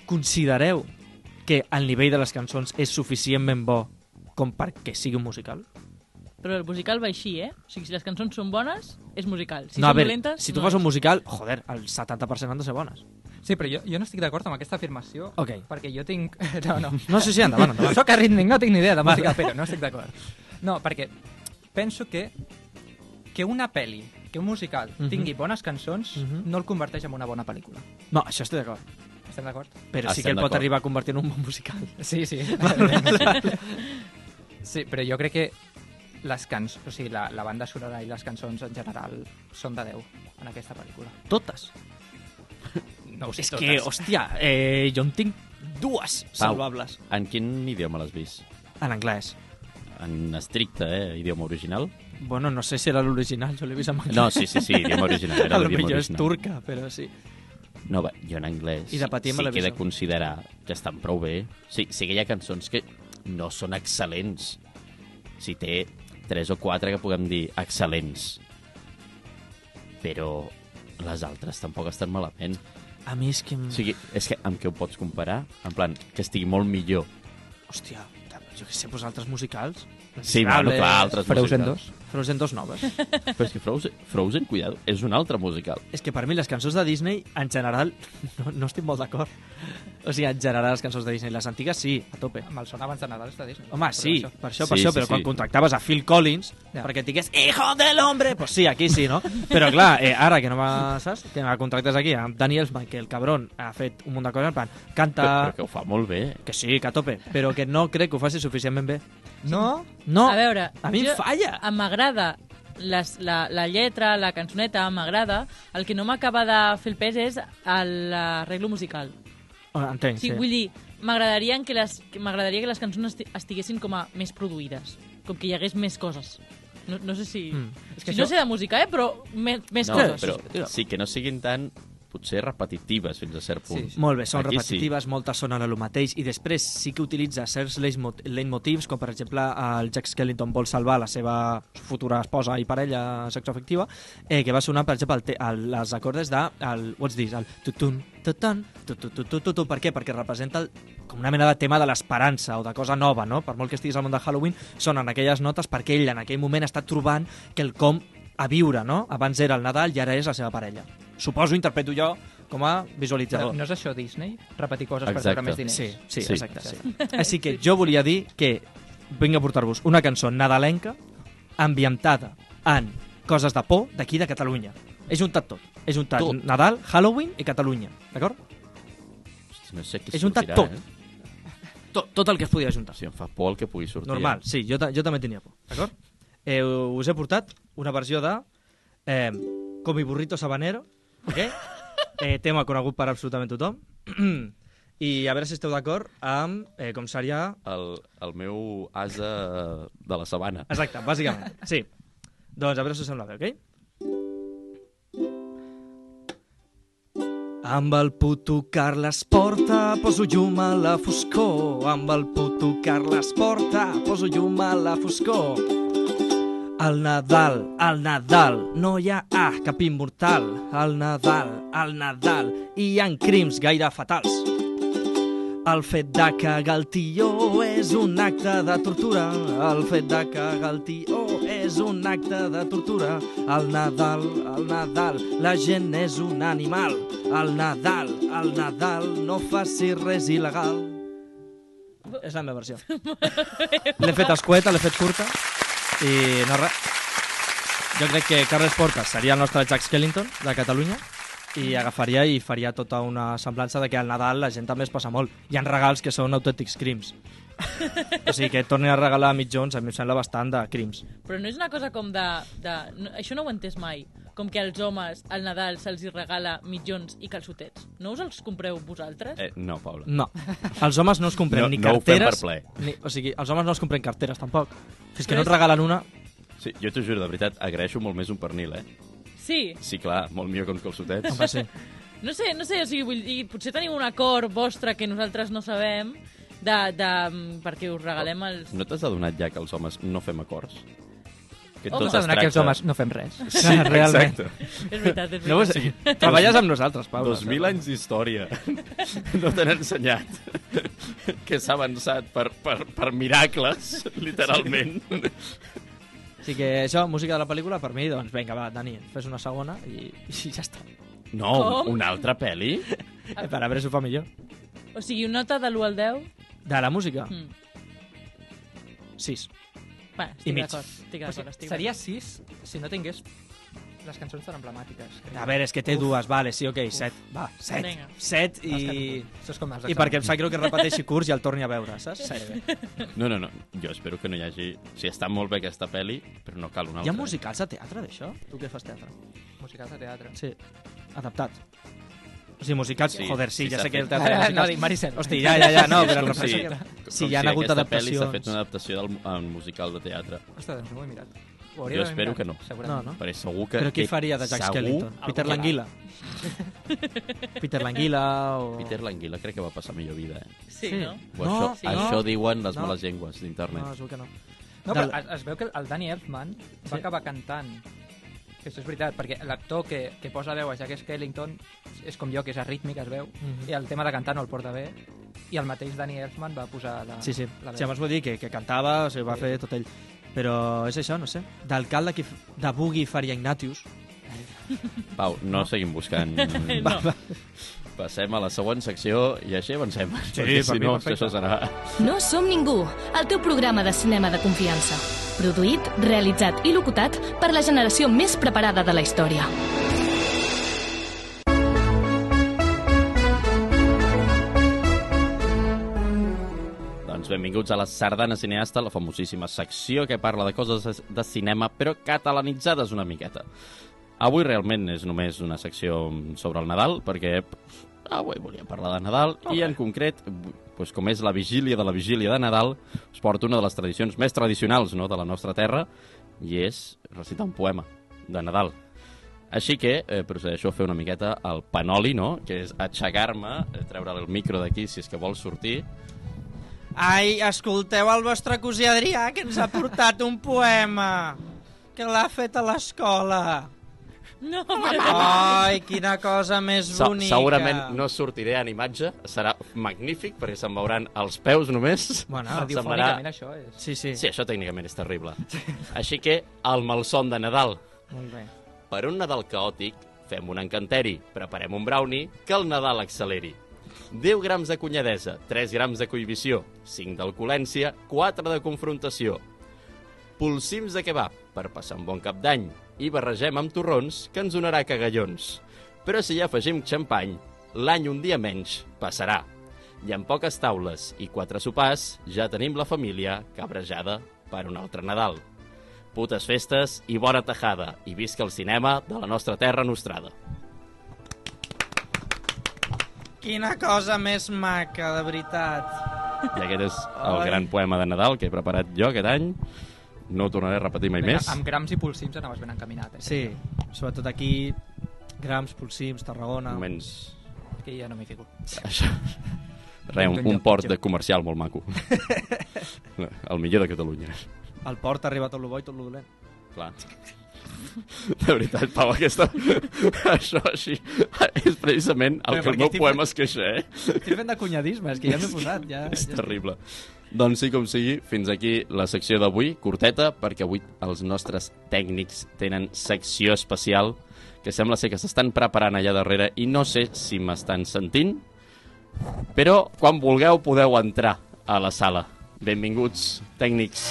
Considereu que el nivell de les cançons és suficientment bo com perquè sigui un musical? Però el musical va així, eh? O sigui, si les cançons són bones, és musical. Si no, a són veure, dolentes, si tu no fas és. un musical, joder, el 70% han de ser bones. Sí, però jo, jo no estic d'acord amb aquesta afirmació, Ok. perquè jo tinc... No, no. No, sí, sí, endavant, endavant. Soc arrítmic, no tinc ni idea de Vale. música, però no estic d'acord. No, perquè penso que que una peli, que un musical Mhm. tingui bones cançons, no el converteix en una bona pel·lícula. No, això estic d'acord. Estem d'acord? Però sí que el pot arribar a convertir en un bon musical. Sí, sí. Val, val, val. sí, però jo crec que les cançons, o sigui, la, la banda sonora i les cançons en general són de 10 en aquesta pel·lícula. Totes? No ho sé, És totes. que, hòstia, eh, jo en tinc dues salvables. en quin idioma l'has vist? En anglès. En estricte, eh? Idioma original? Bueno, no sé si era l'original, jo l'he vist en anglès. No, sí, sí, sí, idioma original, era A lo l'idioma millor és original. turca, però sí. No, va, jo en anglès I de patir me sí la que he de visa. considerar que estan prou bé. Sí, sí que hi ha cançons que no són excel·lents. Si té tres o quatre que puguem dir excel·lents. Però les altres tampoc estan malament. A mi és que... O sigui, és que amb què ho pots comparar? En plan, que estigui molt millor. Hòstia, jo què sé, doncs altres musicals. Sí, bueno, clar, altres Frozen musicals. Frozen 2 noves. Però és que Frozen, Frozen, cuidado, és un altre musical. és que per mi les cançons de Disney, en general, no, no estic molt d'acord. O sigui, en general, les cançons de Disney, les antigues sí, a tope. Me'l sona abans de Nadal, està Disney. Home, sí, per això, Sí, per això, sí, però sí. quan contractaves a Phil Collins Ja. perquè et digués Hijo del hombre, pues sí, aquí sí, no? Però clar, eh, ara que no me, saps? Que me contractes aquí amb Daniel Elfman, que el cabron ha fet un munt de coses, en plan, canta... Però, però que ho fa molt bé. Que sí, que a tope, però que no crec que ho faci suficientment bé. No? No, a veure, a mi em falla. em M'agrada les, la, la lletra, la cançoneta, m'agrada. El que no m'acaba de fer el pes és el- l'arreglo musical. Oh, Entenc, Sí, sí. vull dir, m'agradaria que, les, que m'agradaria que les cançons esti- estiguessin com a més produïdes, com que hi hagués més coses. No, no sé si... Mm. Mm. És És que que això- No sé de música, eh, però me, més no, coses. però sí, que no siguin tan, potser, repetitives fins a cert punt. Molt bé, són Aquí repetitives, sí. moltes sonen a lo mateix, i després sí que utilitza certs leitmo- leitmotivs, com per exemple el Jack Skellington vol salvar la seva futura esposa i parella sexoafectiva, eh, que va sonar, per exemple, el, te- el, les acordes de el, What's This, el tutun, tutun, tutututututun. Per què? Perquè representa el, com una mena de tema de l'esperança o de cosa nova, no? Per molt que estiguis al món de Halloween, sonen aquelles notes perquè ell en aquell moment està trobant que el com a viure, no? Abans era el Nadal i ara és la seva parella. Suposo, interpreto jo com a visualitzador. No és això Disney? Repetir coses per Exacte. treure més diners. Sí, sí, Sí. sí. exacte. Sí. Així que jo volia dir que vinc a portar-vos una cançó nadalenca ambientada en coses de por d'aquí de Catalunya. He juntat tot. He juntat Tot. tot. Nadal, Halloween i Catalunya, d'acord? Hosti, No sé què He juntat sortirà, tot. eh? tot. Tot el que es podia juntar. Si em fa por el que pugui sortir. eh? Normal, sí, jo, ta- jo també tenia por, d'acord? Eh, us he portat una versió de eh, Comi burrito sabanero, ok? Eh, tema conegut per absolutament tothom. I a veure si esteu d'acord amb eh, com seria El, el meu asa de la sabana. Exacte, bàsicament, sí. Doncs a veure si us sembla bé, ok? Amb el puto Carles Porta poso llum a la foscor. Amb el puto Carles Porta poso llum a la foscor. El Nadal, el Nadal, no hi ha ah, cap immortal. El Nadal, el Nadal, hi han crims gaire fatals. El fet de cagar el tió és un acte de tortura. El fet de cagar el tió és un acte de tortura. El Nadal, el Nadal, la gent és un animal. El Nadal, el Nadal, no facis res il·legal. És la meva versió. L'he fet escueta, l'he fet curta i no res. Jo crec que Carles Porcas seria el nostre Jack Skellington de Catalunya i agafaria i faria tota una semblança de que al Nadal la gent també es passa molt. Hi ha regals que són autèntics crims. o sigui que tornin a regalar mitjons a mi em sembla bastant de crims. Però no és una cosa com de... de no, això no ho he entès mai. Com que als homes al Nadal se'ls hi regala mitjons i calçotets. No us els compreu vosaltres? Eh, no, Paula. No, els homes no es compren No- ni no ho fem carteres... per plaer. ni, o sigui, els homes no es compren carteres tampoc. Fins que no et regalen una... Sí, jo t'ho juro, de veritat, agraeixo molt més un pernil, eh? Sí. Sí, clar, molt millor que uns calçotets. Home, sí. No sé, no sé, o sigui, vull dir, potser teniu un acord vostre que nosaltres no sabem de, de, mm, perquè us regalem els... No t'has adonat ja que els homes no fem acords? Que Home. tot No es s'ha adonat que els tracta- homes no fem res. Sí, Realment. exacte. És veritat, és veritat. No, o sigui, treballes amb nosaltres, Pau. Dos mil anys d'història. No t'han ensenyat que s'ha avançat per, per, per miracles, literalment. Així que això, música de la pel·lícula, per mi, doncs vinga, va, Dani, fes una segona i, i ja està. No, Com? una altra pel·li? Eh, Per a veure si ho fa millor. O sigui, una nota de l'1 al 10? De la música? Mm. 6. Va, I estic mig. d'acord, estic O sigui, d'acord. estic seria 6 si no tingués les cançons tan emblemàtiques. crec. A veure, és que té Uf. dues, vale, sí, ok, set. Va, set. Vinga. Set i... Els doncs, que no puc. Això és com els I perquè em exàmens. sap greu que repeteixi curs i el torni a veure, saps? Set. No, no, no. Jo espero que no hi hagi... O sigui, està molt bé aquesta pel·li, però no cal una Hi altra. ha musicals a teatre d'això? Tu què fas teatre? Musicals de teatre. Sí, adaptat. O sigui, musicals, Sí, sí, joder, sí, sí, ja s'ha sé que fet. el teatre... Ah, musicals- no, dic Maricel. Hosti, ja, ja, ja, no, Sí, és però com el si- referència... com Si, si hi ha si hagut aquesta pel·li s'ha adaptacions... fet una adaptació del, en musical de teatre. Ostres, doncs no ho he mirat. Ho Jo hauria d'haver espero mirat, que no. segurament. No, no. Perquè segur que... Però qui que faria de Jack segur- Skellington? Peter Algú Languila? Peter Languila o... Peter Languila crec que va passar millor vida, eh? Sí, Sí. no? O això, No, sí. això No. diuen les No. males llengües d'internet. No, segur que no. No, Del- però es, es veu que el Danny Elfman va acabar cantant. Que això és veritat, perquè l'actor que, que posa veu a Jack Skellington és com jo, que és arrítmic, es veu, Mhm. i el tema de cantar no el porta bé, i el mateix Danny Elfman va posar la, Sí, sí. la veu. Sí, abans ho he dit, que, que cantava, o sigui, va Sí. fer tot ell. Però és això, no sé. D'alcalde que f- de Bugui Faria Ignatius. Pau, no seguim buscant. Va, va. Passem a la següent secció i així avancem. Sí, perquè per si mi no, perfecte. això serà... No som ningú, el teu programa de cinema de confiança. Produït, realitzat i locutat per la generació més preparada de la història. Doncs benvinguts a la Sardana Cineasta, la famosíssima secció que parla de coses de cinema, però catalanitzades una miqueta. Avui realment és només una secció sobre el Nadal, perquè pff, avui volia parlar de Nadal, i en concret, doncs com és la vigília de la vigília de Nadal, us porto una de les tradicions més tradicionals no, de la nostra terra, i és recitar un poema de Nadal. Així que eh, procedeixo a fer una miqueta el panoli, no? que és aixecar-me, eh, treure el micro d'aquí si és que vols sortir, Ai, escolteu el vostre cosí Adrià, que ens ha portat un poema, que l'ha fet a l'escola. No, Ai, quina cosa més Se- bonica. Segurament no sortiré en imatge, serà magnífic, perquè se'n veuran els peus només. Bueno, Em radiofònicament eh? això és. Sí, sí. Sí, això tècnicament és terrible. Així que, el malson de Nadal. Molt bé. Per un Nadal caòtic, fem un encanteri, preparem un brownie, que el Nadal acceleri. 10 grams de cunyadesa, 3 grams de cohibició, 5 d'alcoholència, 4 de confrontació. Polsims de kebab, per passar un bon cap d'any, i barregem amb torrons, que ens donarà cagallons. Però si hi afegim xampany, l'any un dia menys passarà. I amb poques taules i quatre sopars, ja tenim la família cabrejada per un altre Nadal. Putes festes i bona tajada, i visca el cinema de la nostra terra nostrada. Quina cosa més maca, de veritat. I aquest és el Ai. gran poema de Nadal que he preparat jo aquest any. No ho tornaré a repetir mai Vinga, més. Amb grams i polsims anaves ben encaminat, eh? Sí, sobretot aquí, Grams, Pulsims, Tarragona... Moments... Que ja no m'hi fico. Això. Re, un, un port de comercial molt maco. el millor de Catalunya. El port arriba tot lo bo i tot lo dolent. Clar. De veritat, Pau, aquesta... Això així és precisament el que Però perquè el meu estic- poema es queixa, eh? Estic fent de cunyadisme, és que ja m'he posat. Ja, És Ah, ja. terrible. Doncs sí, com sigui, fins aquí la secció d'avui, curteta, perquè avui els nostres tècnics tenen secció especial que sembla ser que s'estan preparant allà darrere i no sé si m'estan sentint, però quan vulgueu podeu entrar a la sala. Benvinguts, tècnics.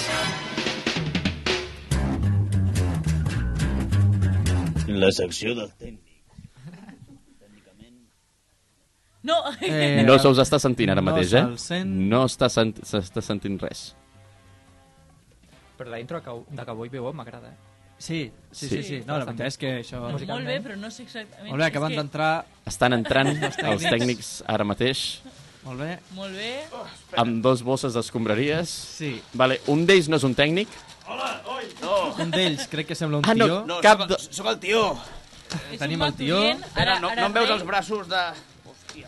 La secció de... No, Ah. Eh, no se us està sentint ara no mateix, se'l eh? sent. No està sent... s'està sentint res. Però la intro de Cau- de Cowboy Bebop m'agrada, eh? Sí, sí, sí, Sí. sí. No, la veritat és que això... Molt bé, però no sé exactament... Molt bé, És acaben que- d'entrar... Estan entrant Els els tècnics ara mateix Molt bé. Molt bé. amb dos bosses d'escombraries. Sí. Vale, un d'ells no és un tècnic. Un d'ells crec que sembla un Ah, no, tio. no, Cap sóc- de- Sóc el tio. Tenim el tio Ara, no, no em veus els braços de...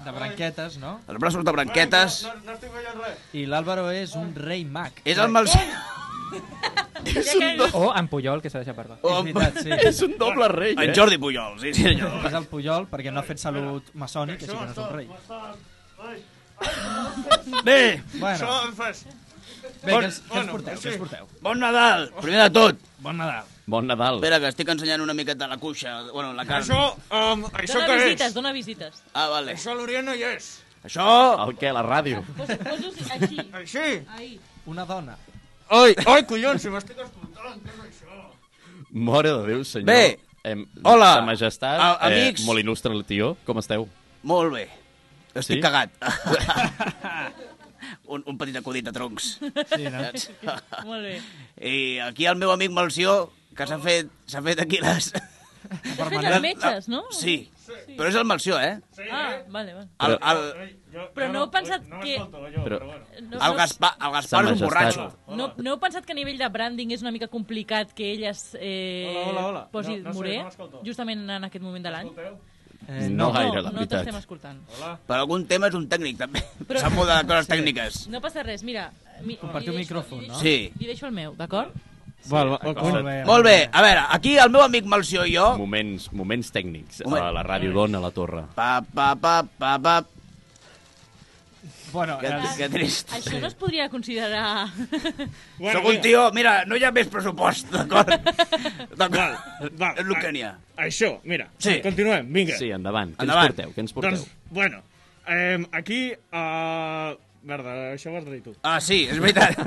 de branquetes, no? Els braços de branquetes. I l'Àlvaro és un rei mag. És el mal... És un do... O en Puyol, que s'ha deixat parlar. És veritat, sí. doble rei, En Jordi Pujol, sí, sí, senyor. És el Puyol, perquè no ha fet salut maçònic, així que no és un rei. Bé, Bueno. Bé, què ens, què ens porteu? Què ens porteu? bon Nadal, primer de tot. Bon Nadal. Bon Nadal. Espera, que estic ensenyant una miqueta la cuixa, bueno, la carn. Això, um, dona visites, dona visites. Ah, vale. Això a l'Orient no hi és. Això... El què, la ràdio? Posa- Posa-ho així. Així? Ahí. Una dona. Ai, ai, collons, si m'estic escoltant. Mare de Déu, senyor. Bé, Eh, Hola! Sa majestat, A- amics! Eh, molt il·lustre el tio, com esteu? Molt bé. Estic Sí? sí? cagat. un, un petit acudit de troncs. Sí, no? Saps? Molt bé. I aquí el meu amic Melció, que s'ha fet, s'ha fet aquí les... Has fet els metges, no? Sí, però és el Melció, eh? Ah, vale, vale. El, el, Però no heu pensat que... Però- No, el, Gaspar, el Gaspar Sa és Majestat. un borratxo. No, no heu pensat que a nivell de branding és una mica complicat que ell es eh, Hola, hola, hola. posi No, no sé, moré, no m'escolto. justament en aquest moment de l'any? Eh, no gaire, la no, No veritat. t'estem escoltant. Per algun tema és un tècnic, també. S'ha mudat de coses tècniques. No passa res, mira... Mi, Compartir li un deixo- micròfon, li no? deixo- Sí. Li deixo el meu, d'acord? Val, val, Molt bé, Molt bé, a veure, aquí el meu amic Melció i jo... Moments, moments tècnics Moment. a la ràdio d'Ona, a la torre. Pa, pa, pa, pa, pa. Bueno, eh, que, que trist. Això no es podria considerar... Bueno, Sóc un tio, mira, no hi ha més pressupost, d'acord? D'acord, és el que n'hi ha. Això, mira, Sí. continuem, vinga. Sí, endavant. Què ens Endavant. porteu? Què ens porteu? Doncs, bueno, eh, aquí... Uh... Merda, això ho has de dir tu. Ah, sí, és veritat.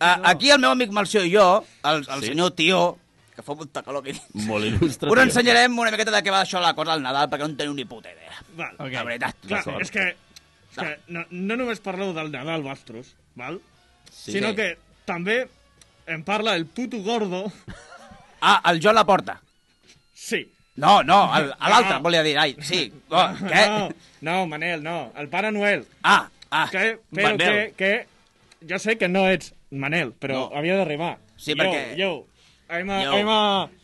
Ah, aquí el meu amic Melció i jo, el, el Sí. sí. senyor Tió, que fa molta calor aquí dins, Molt il·lustre. us tio. ensenyarem una miqueta de què va això la cosa al Nadal, perquè no en teniu ni puta idea. Val. Okay. La veritat. Clar, és que, és que no, no només parleu del Nadal vostres, val? Sí. Sinó Sí. que també em parla el puto gordo. Ah, el Joan Laporta. Sí. No, no, el- a l'altre, No. volia dir, ai, sí. No, què? No, no, Manel, no. El Pare Noel. Ah, ah, que, però Manel. Que, que, jo sé que no ets Manel, però No. havia de rimar. Sí, yo, perquè- Yo, I'm a, Yo. I'm a...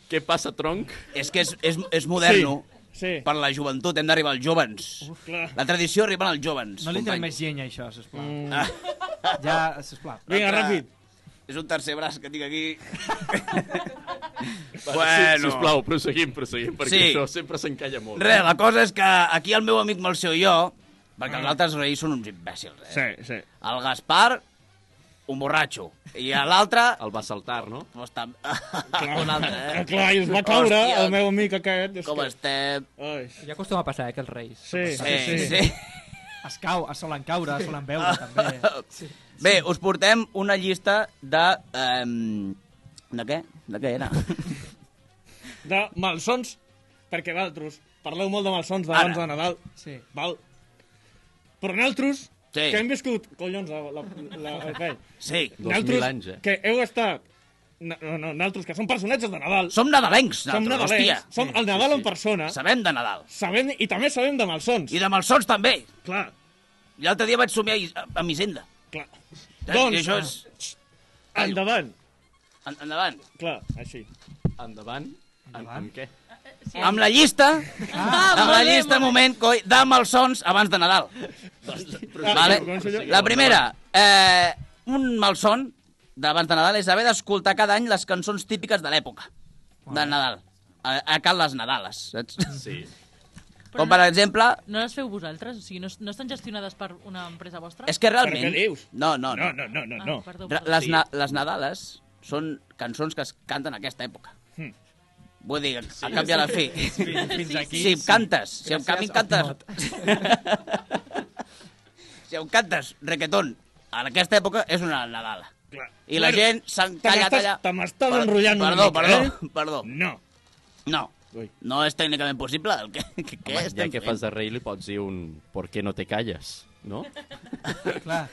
Què passa, tronc? És que és, és, és moderno. Sí. Per la joventut hem d'arribar als jovens. Uf, clar. la tradició arriba als jovens. No li entrem company. més llenya, això, sisplau. Mm. Mm. Ja, sisplau. L'altre És un tercer braç que tinc aquí. Va, Sí, sisplau, proseguim, proseguim, perquè Sí. això sempre s'encalla molt. Res, la cosa és que aquí el meu amic Melcio i jo, perquè els altres reis són uns imbècils, eh? Sí, sí. El Gaspar, un borratxo. I a l'altre... El va saltar, no? Pues tam... un altre, eh? Clar, i es va caure Hòstia, el meu amic aquest. És Com que... estem? Ai. Ja acostuma a passar, eh, que els reis. Sí, Sí, sí. sí. Es cau, es solen caure, es solen veure, també. Sí. Bé, us portem una llista de... Um, de què? De què era? De malsons, perquè vosaltres parleu molt de malsons d'abans de Nadal. Sí. Val? Però nosaltres, Sí. que hem viscut, collons, la, la, la, el vell. Sí. Dos Nosaltres, mil anys, eh? Que heu estat... No, no, no, nosaltres, que som personatges de Nadal. Som nadalencs, Som nosaltres, nadalencs, hòstia. som el Nadal en persona. Sabem de Nadal. Sabem, I també sabem de malsons. I de malsons també. Clar. I L'altre dia vaig somiar i- amb Hisenda. Clar. I Doncs, això és... Endavant. En- Endavant. Clar, així. Endavant. En, amb què? Sí. Amb la llista, Ah, amb la molt bé, llista, molt moment, coi, de malsons abans de Nadal. Ah, vale? proseguim. La primera, eh, un malson d'abans de Nadal és haver d'escoltar cada any les cançons típiques de l'època de Nadal. A, a cal les Nadales, saps? Sí. Però Com per no- exemple... No les feu vosaltres? O sigui, no, no estan gestionades per una empresa vostra? És que realment... Però què dius? No, no, no. No, no, no, Ah, no. perdó, Ra- perdó. Les, na les Nadales són cançons que es canten a aquesta època. Hmm. Vull dir, a cap i a la fi. Hm. Sí, fins aquí, Si em sí. cantes, si em Gràcies, canvi cantes... si em cantes reggaeton en aquesta època és una Nadala. Clar. I la Bueno, gent s'han callat te allà... m'estàs- Te m'estàs Per- enrotllant perdó, una perdó, mica, eh? perdó. No. No. Ui. No és tècnicament possible. El que, que, que Home, ja estem que fent? fas de rei li pots dir un ¿por qué no te calles? No? Clar.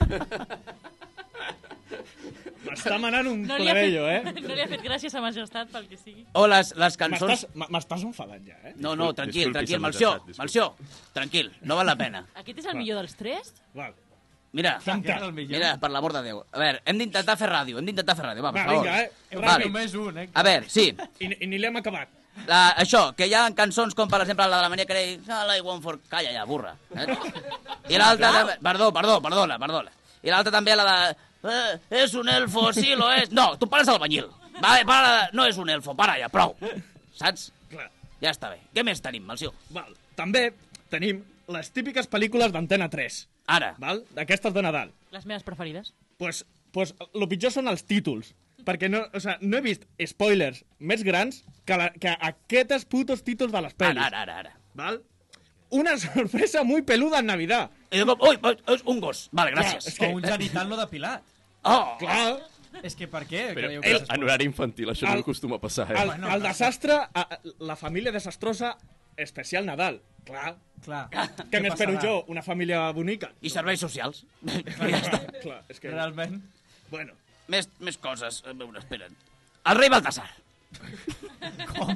M'està manant un No li, ha fet, plebeio, eh? no li ha fet gràcia a majestat pel que sigui. O les, les cançons... M'estàs- m- M'estàs enfadant ja, eh? No, no, Disculpi, tranquil, disculpi, tranquil, s'ha Malció, manifestat, Malció, tranquil, no val la pena. Aquest és el millor dels tres? Val. Mira, Tanca. Aquest és el millor. mira, per l'amor de Déu. A veure, hem d'intentar fer ràdio, hem d'intentar fer ràdio, va, per Va, favor. vinga, eh? Vale. Només un, eh? A veure, sí, I, i ni l'hem acabat. la, això, que hi ha cançons com, per exemple, la de la Maria Carey, All I want for... Calla ja, burra. Eh? I l'altra... també- Perdó, perdó, perdona, perdona. I l'altra també la de... Eh, és un elfo, sí, lo és. No, tu pares al banyil. Vale, para, de- no és un elfo, para ja, prou. Saps? Clar. Ja està bé. Què més tenim, Malció? Val. També tenim les típiques pel·lícules d'Antena 3. Ara. Val? D'aquestes de Nadal. Les meves preferides? Pues, pues, lo pitjor són els títols. Perquè no, o sea, no he vist spoilers més grans que, la, que aquestes putos títols de les pel·lis. Ara, ara, ara. ara. Val? Una sorpresa muy peluda en Navidad. I de cop, ui, ui, és un gos. Vale, gràcies. O un genital no depilat. Oh, Clar, És que per què? Però creieu que el, s'espo- en horari infantil, això no acostuma a passar, eh? El, el desastre, a, a- la família desastrosa, especial Nadal. Clar. Clar. Què m'espero passarà? jo? Una família bonica? I serveis socials. Clar, és que... Realment. Bueno. Més, més coses. A veure, espera't. El rei Baltasar. Com?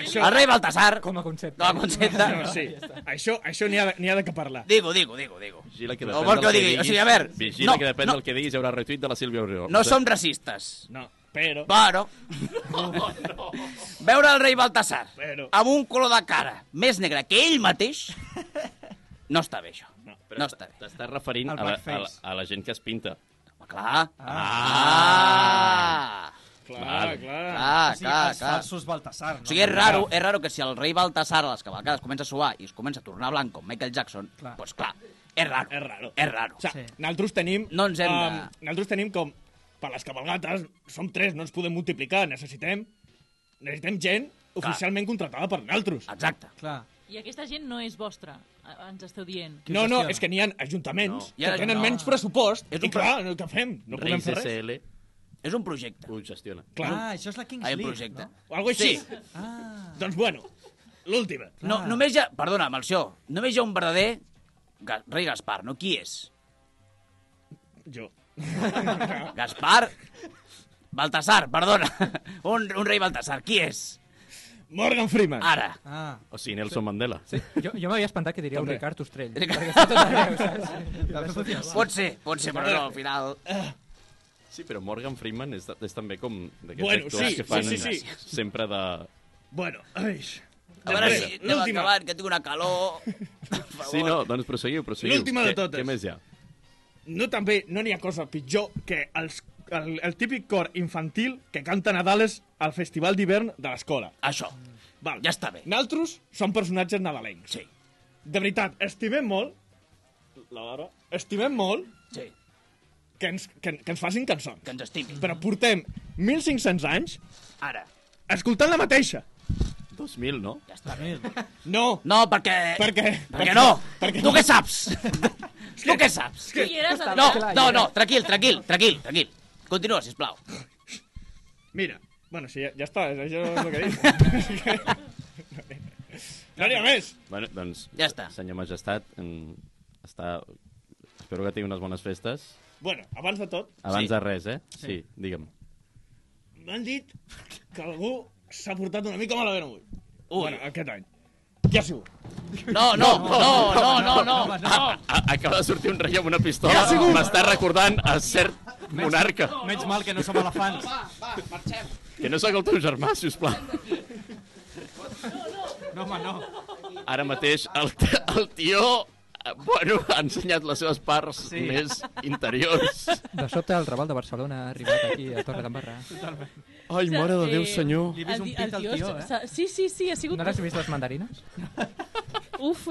Això... El rei Baltasar. Com a concepte. Com a concepte. No, sí. Això, això n'hi ha, de- n'hi ha de que parlar. Digo, digo, digo, digo. Vigila que No, depèn vol que del ho digui. O sigui, a veure, Vigila no, que depèn no. del que diguis hi haurà retuit de la Sílvia Oriol. No som racistes. No, però... Però... Veure el rei Baltasar Però- amb un color de cara més negre que ell mateix no està bé, això. No, no està bé. T'estàs referint a la, a, la, a la gent que es pinta. Home, clar. Ah. Ah. Clar, O clar. Clar, sigui, clar, els clar. falsos Baltasar, no? O sigui, és raro, és raro que si el rei Baltasar a les cavalcades comença a suar i es comença a tornar blanc com Michael Jackson, doncs pues clar, és raro. És raro. És raro. O sigui, sí. nosaltres tenim... No ens hem de- nosaltres tenim com... Per les cabalgates, som tres, no ens podem multiplicar. Necessitem... Necessitem gent oficialment contratada per nosaltres. Exacte. Clar. I aquesta gent no és vostra, eh, ens esteu dient. No, no, és que n'hi ha ajuntaments No. no. Hi ha- que tenen no. no. menys pressupost És és un i clar, no, què fem? No podem Reis fer res. SL. És un projecte. Ho gestiona. Clar. Ah, això és la Kings Hi ha un League, projecte. no? O algo així. Sí. Ah. Doncs bueno, l'última. No, només hi ha... Perdona, amb això. Només hi ha un verdader Ga rei Gaspar, no? Qui és? Jo. Gaspar? Baltasar, perdona. Un, un rei Baltasar, qui és? Morgan Freeman. Ara. Ah. O sigui, Nelson Mandela. Sí. Jo, jo m'havia espantat que diria També. el Ricard Ostrell. Ricard- perquè està tot arreu, saps? Pot ser, pot ser, però no, al final... Sí, però Morgan Freeman és, és també com d'aquests Bueno, actors sí, que fan sí, sí, sí. sempre de... Bueno, ai. A veure Després, si anem acabant, que tinc una calor... Sí, no, doncs prosseguiu, prosseguiu. L'última de Què- totes. Què més hi ha? No també, no n'hi ha cosa pitjor que els, el, el típic cor infantil que canta Nadales al festival d'hivern de l'escola. Això. Val. Ja està bé. Naltros som personatges nadalencs. Sí. De veritat, estimem molt... La Laura? Estimem molt... Sí. Que ens, que, que ens facin cançons. Que ens estimin. Però portem 1.500 anys Ara. escoltant la mateixa. 2.000, no? Ja està bé. No. No, perquè... Perquè... Perquè no. Tu què saps? Tu què saps? que- Sí, eres el No, Gaspar. no, no, tranquil, tranquil, tranquil, tranquil. Continua, sisplau. Mira, bueno, sí, ja, ja està, és això és el que dic. no n'hi ha més. Bueno, doncs, Ja està. senyor Majestat, mm, està... espero que tingui unes bones festes. Bueno, abans de tot, Abans Sí. de res, eh? Sí. Sí, sí digue'm. m'han dit que algú s'ha portat una mica malament avui. Ui. Bueno, aquest any. Qui ha sigut? No, no, no, no, no, no. A, a, Ah, acaba de sortir un rei amb una pistola. M'està recordant a cert monarca. Menys mal que no som elefants. Va, marxem. Que no sóc el teu germà, si us plau. No, home, no. Ara mateix el, t- el tio eh, bueno, ha ensenyat les seves parts Sí. més interiors. De sobte, el Raval de Barcelona ha arribat aquí, a Torre d'en Barra. Totalment. Ai, mare de Déu, senyor. Li he vist un pit al tio, eh? s'ha- Sí, sí, sí, ha sigut... No l'has vist les mandarines? Uf.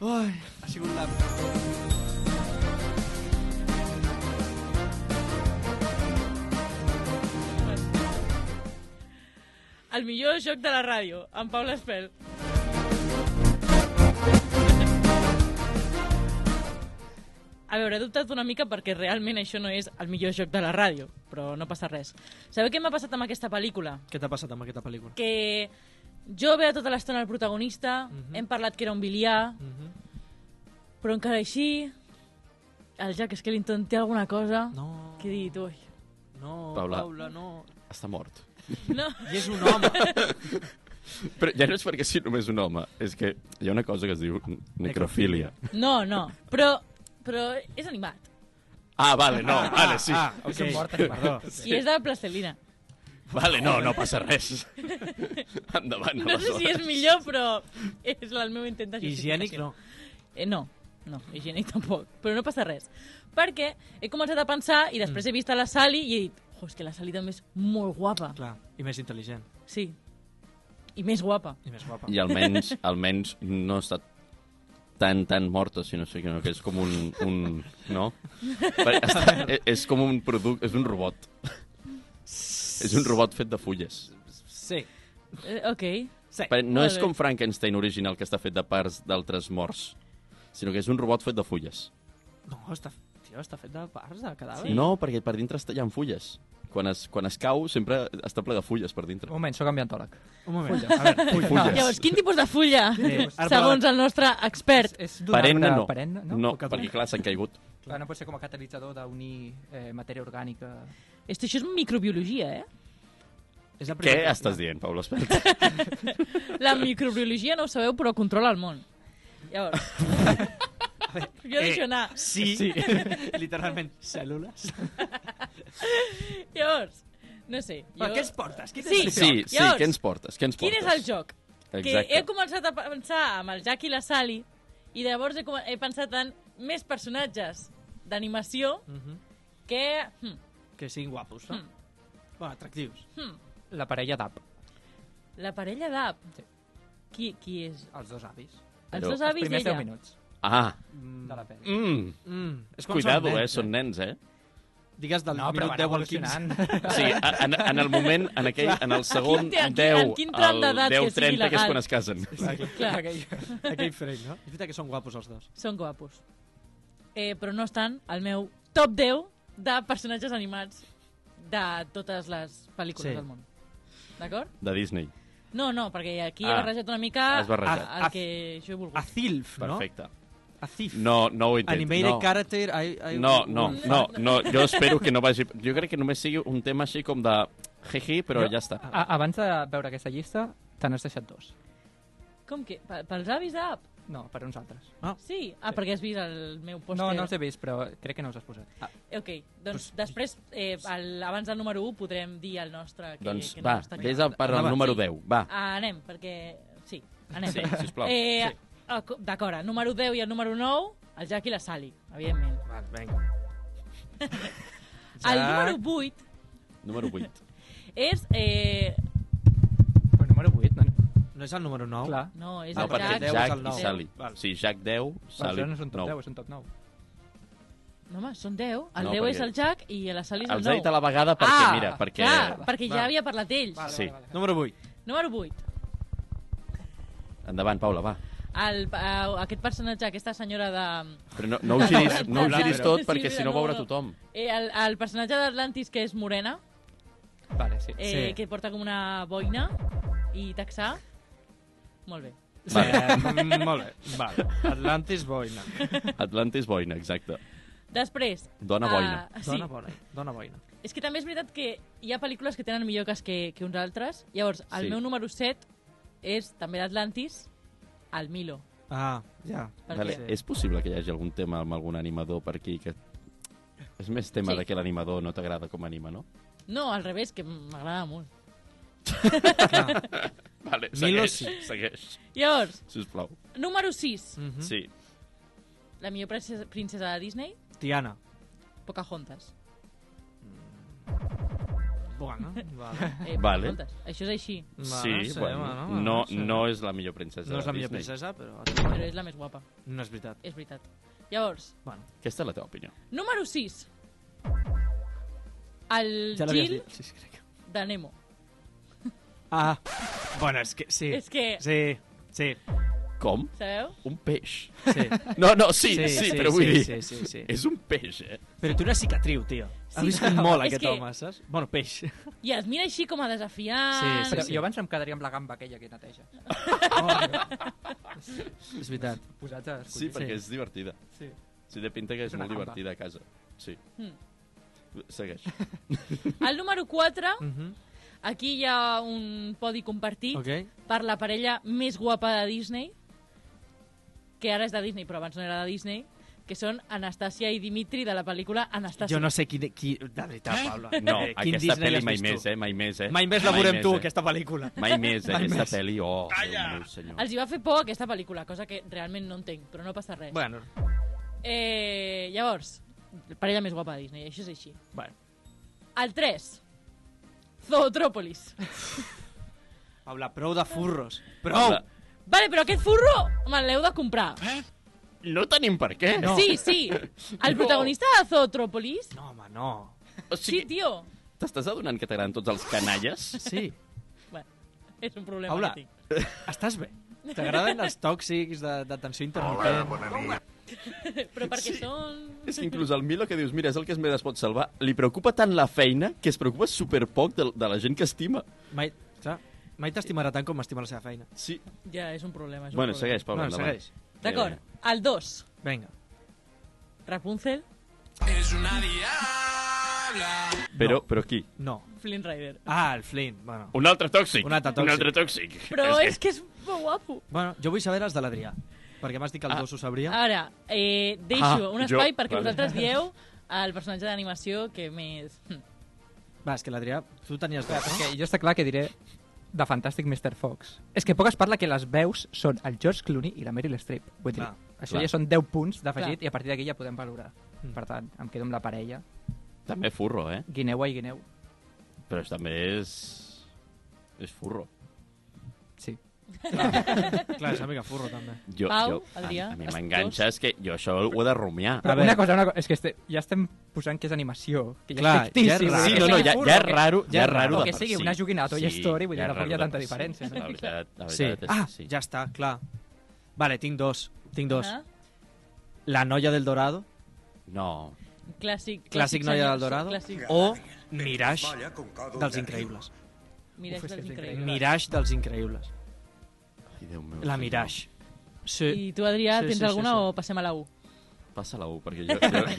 Ai, ha sigut la... El millor joc de la ràdio, amb Paula Espel. A veure, he dubtat una mica perquè realment això no és el millor joc de la ràdio, però no passa res. Sabeu què m'ha passat amb aquesta pel·lícula? Què t'ha passat amb aquesta pel·lícula? Que jo veia tota l'estona el protagonista, Mhm. hem parlat que era un biliar, però encara així el Jack Skellington té alguna cosa No. que he dit, ui... No, Paula. Paula no. Està mort. No. I és un home. Però ja no és perquè sí només un home, és que hi ha una cosa que es diu necrofília. No, no, però, però és animat. Ah, vale, no, vale, sí. Ah, ok. Perdó. Sí. I és de plastelina. Vale, no, no passa res. Endavant, No sé si és millor, però és el meu intent de justificació. Higiènic no. Eh, no, no, higiènic tampoc. Però no passa res. Perquè he començat a pensar i Mm. després he vist a la Sally i he dit jo, és que la Sally també és molt guapa. Clar, i més intel·ligent. Sí. I més guapa. I més guapa. I almenys, almenys no està tan, tan morta, sinó que, no, que és com un... un no? Perquè Està, és, és com un producte, és un robot. És un robot fet de fulles. Sí. Eh, ok. Sí. Perquè No Molt és bé. com Frankenstein original, que està fet de parts d'altres morts, sinó que és un robot fet de fulles. No, està... Tio, Tio, està fet de parts de cadàver? Sí. No, perquè per dintre està- hi ha fulles. Quan es, quan es cau, sempre està ple de fulles per dintre. Un moment, sóc ambientòleg. Un moment. A veure, fulles. Llavors, quin tipus de fulla, Sí. segons el nostre expert? És, Perenne no. Perenne, no? no O que- perquè clar, s'han caigut. Clar, no pot ser com a catalitzador d'unir eh, matèria orgànica... Esto, això és microbiologia, eh? És la Què estàs dient, Pablo? Espera. La microbiologia no ho sabeu, però controla el món. Llavors... Jo deixo anar. Sí, literalment. Cèl·lules? Llavors, no sé. Però jo- què ens portes? Quin és sí, el Sí, joc? sí, Llavors, què ens portes? Què ens Quin és portes? el joc? Exacte. Que he començat a pensar amb el Jack i la Sally i llavors he, come- he pensat en més personatges d'animació que... Hm, Que siguin guapos, no? Hmm. Bueno, atractius. hm, La parella d'Ap. la parella d'Ap. Qui, qui és? Els dos avis. Els dos avis i primers ella. 10 minuts. Ah. De la pel·li. Mm. Mm. És quan Cuidado, són nens, eh? Són nens, eh? Digues del No, però minut van 10 al evolucionant. 15. Sí, a- en, en el moment, en, aquell, en el segon Quin te- en 10, quin- en quin tram al d'edat que sigui 10-30, que és legal? quan es casen. Clar. Aquell, aquell frame, no? És veritat que són guapos els dos. Són guapos. Eh, però no estan al meu top 10 de personatges animats de totes les pel·lícules Sí. del món. D'acord? De Disney. No, no, perquè aquí Ah. he barrejat una mica Has barrejat. Ah. el que jo he volgut. A Zilf, no? Perfecte. A Thief. No, no ho he dit. Animated eh, no. character, I- I- No, no, no, no, jo espero que no vagi... Jo crec que només sigui un tema així com de jeje, però Jo- Ah, ja està. A, abans de veure aquesta llista, te n'has deixat dos. Com que? Pe- Pels avis d'App? No, per uns altres. Ah. Sí? Ah, perquè has vist el meu pòster. No, no els he vist, però crec que no els has posat. Ah, Ok, doncs després, eh, el, abans del número 1, podrem dir el nostre... Que, Doncs que va, no està vés clar. a per al Anava. número Sí. 10, va. Ah, anem, perquè... Sí, anem. Sí, sisplau. Eh, sí. D'acord, el número 10 i el número 9, el Jack i la Sally, evidentment. Vale, vinga. El Jack. número 8 Número 8. és... Eh, Però número 8, no? No és el número 9? Clar. no, és No, el perquè Jack... Jack i Sally. Sí, Jack 10, Però Sally això no és un top 10, 9. és un top 9. No, home, són 10. El No, 10 és perquè- el Jack i la Sally és el 9. Els he dit a la vegada perquè, ah, mira, perquè... Clar, perquè ja Val. havia parlat ells. Sí. Número 8. Número 8. Endavant, Paula, va. El, uh, aquest personatge, aquesta senyora de... Però no, no ho giris, no ho Paula, giris però- tot Sí, perquè mira, si no no, ho veurà no. tothom. Eh, el, el personatge d'Atlantis, que és morena, Vale, sí. eh, que porta com una boina i taxà. Molt bé. Vale. Eh, molt bé. Vale. Atlantis Boina. Atlantis Boina, exacte. Després... Dona boina. ah, sí. Dona boina. Dona boina. És que també és veritat que hi ha pel·lícules que tenen millor cas que, que uns altres. Llavors, el Sí. meu número 7 és també d'Atlantis, el Milo. Ah, ja. Per Vale. què? És possible que hi hagi algun tema amb algun animador per aquí que... És més tema Sí. de que l'animador no t'agrada com anima, no? No, al revés, que m'agrada molt. Vale, Milo segueix, sí. segueix. Llavors, Sisplau. número 6, Mhm. Sí. la millor princesa, princesa de Disney, Tiana. Pocahontas. Bueno, vale. Eh, Vale. Pocahontas. Això és així. Sí, sí, bueno, no, bueno, no, no sé. és la millor princesa No és la de millor Disney. princesa, però... Però és la més guapa. No és veritat. És veritat. Llavors, Bueno. Aquesta és la teva opinió. número 6. El Ja l'havies Gil dit. Sí, sí, crec. de Nemo. Ah, bueno, és que sí. És que- Sí, sí. Com? Sabeu? Un peix. Sí. No, no, sí, sí, però vull dir... Sí, sí, sí. És un peix, eh? Però té una cicatriu, tio. Sí. Sí. Ha viscut molt És aquest que- que... home, saps? Bueno, peix. I es mira així com a desafiant. Però jo abans em quedaria amb la gamba aquella que neteja. Oh, És veritat. Posats a escollir. Sí, perquè és divertida. Sí. Sí, de pinta que és, És una molt gamba. divertida a casa. Sí. Hmm. Segueix. El número 4, Mhm. aquí hi ha un podi compartit Ok. per la parella més guapa de Disney, que ara és de Disney, però abans no era de Disney, que són Anastàcia i Dimitri de la pel·lícula Anastàcia. Jo no sé qui... qui de veritat, Paula. No, Eh, quin aquesta Disney pel·li l'has mai vist més, tu? eh? Mai més, eh? Mai més la Mai veurem més, tu, eh? aquesta pel·lícula. Mai més, eh? Mai Aquesta més. pel·li, oh, Calla! Déu meu senyor. Els hi va fer por aquesta pel·lícula, cosa que realment no entenc, però no passa res. Bueno. Eh, llavors, parella més guapa de Disney, això és així. Bueno. El 3, Zootrópolis. Paula, prou de furros. Prou! Paula. Vale, però aquest furro me l'heu de comprar. No tenim per què. Eh? No. Sí, sí. El No. protagonista de Zootrópolis... No, home, no. O sigui... Sí, tio. T'estàs adonant que t'agraden tots els canalles? Sí. Bueno, és un problema Paula, que tinc. estàs bé? T'agraden els tòxics de- d'atenció intermitent? Hola, bona nit. Però perquè sí. són... És que inclús el Milo, que dius, mira, és el que es més es pot salvar, li preocupa tant la feina que es preocupa super poc de, de la gent que estima. Mai, clar, mai t'estimarà tant com estima la seva feina. Sí. Ja, és un problema. És un Bueno, problema. segueix, Pablo, Bueno, endavant. segueix. D'acord, el 2. Vinga. Rapunzel, Es una diabla. Però, però qui? No. Flynn Rider. Ah, el Flynn, bueno. Un altre tòxic. Un altre tòxic. tòxic. Però és que és molt guapo. Bueno, jo vull saber els de l'Adrià, perquè m'has dit que el dos ho sabria. Ara, eh, deixo Ah, un jo- espai perquè vale. vosaltres dieu el personatge d'animació que més... Va, és que l'Adrià, tu tenies dos, no? Perquè jo està clar que diré de Fantàstic Mr. Fox. És que poc es parla que les veus són el George Clooney i la Meryl Streep. Vull dir, Clar, això clar. ja són 10 punts d'afegit Clar. i a partir d'aquí ja podem valorar. Mm. Per tant, em quedo amb la parella. També furro, eh? Guineua i Guineu. Però és- també és... És furro. Sí. Clar, és amiga furro, també. Jo, Pau, jo, Adrià, a, a mi els m'enganxa, és que jo això ho he de rumiar. Però una cosa, una cosa, és que este, ja estem posant que és animació, que ja Clar, és fictici. ja és raro. Sí, no, vull dir, que no, sigui ja- furro, ja és que- raro- ja és raro O de que per sigui si. una joguina a Toy Sí, Story, vull dir, ja és tampoc raro hi ha de tanta per si. diferència. no? La veritat, la Sí. veritat és Ah, que sí. ja està, clar. Vale, tinc dos. Tinc dos. Ah. La noia del Dorado. No. Clàssic. Clàssic noia del Dorado. Clàssic. Oh. O Mirage dels Increïbles. Mirage Uf, és que dels és Increïbles. Mirage dels Increïbles. Ai, Déu meu. La Mirage. Sí. I tu, Adrià, tens alguna o passem a la 1? Passa la 1, perquè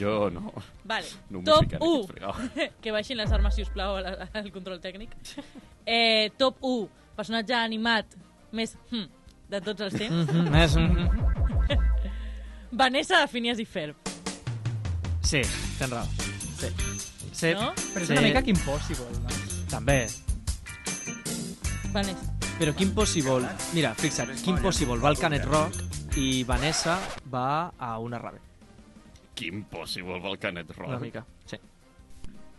jo, jo, jo no... Vale. No m'ho top ficaré, aquest fregau. 1. que baixin les armes, si us plau, al, al control tècnic. Eh, top 1. Personatge animat més hm, de tots els temps. Mhm, més, mhm. Vanessa de Phineas i Ferb. Sí, tens raó. Sí. sí. No? Però és una mica que impossible, no? També. Vanessa. Però Kim Possible... Mira, fixa't, Kim Possible va al Canet Rock i Vanessa va a una rave. Quin possible Volcanet Rock. Una mica, sí.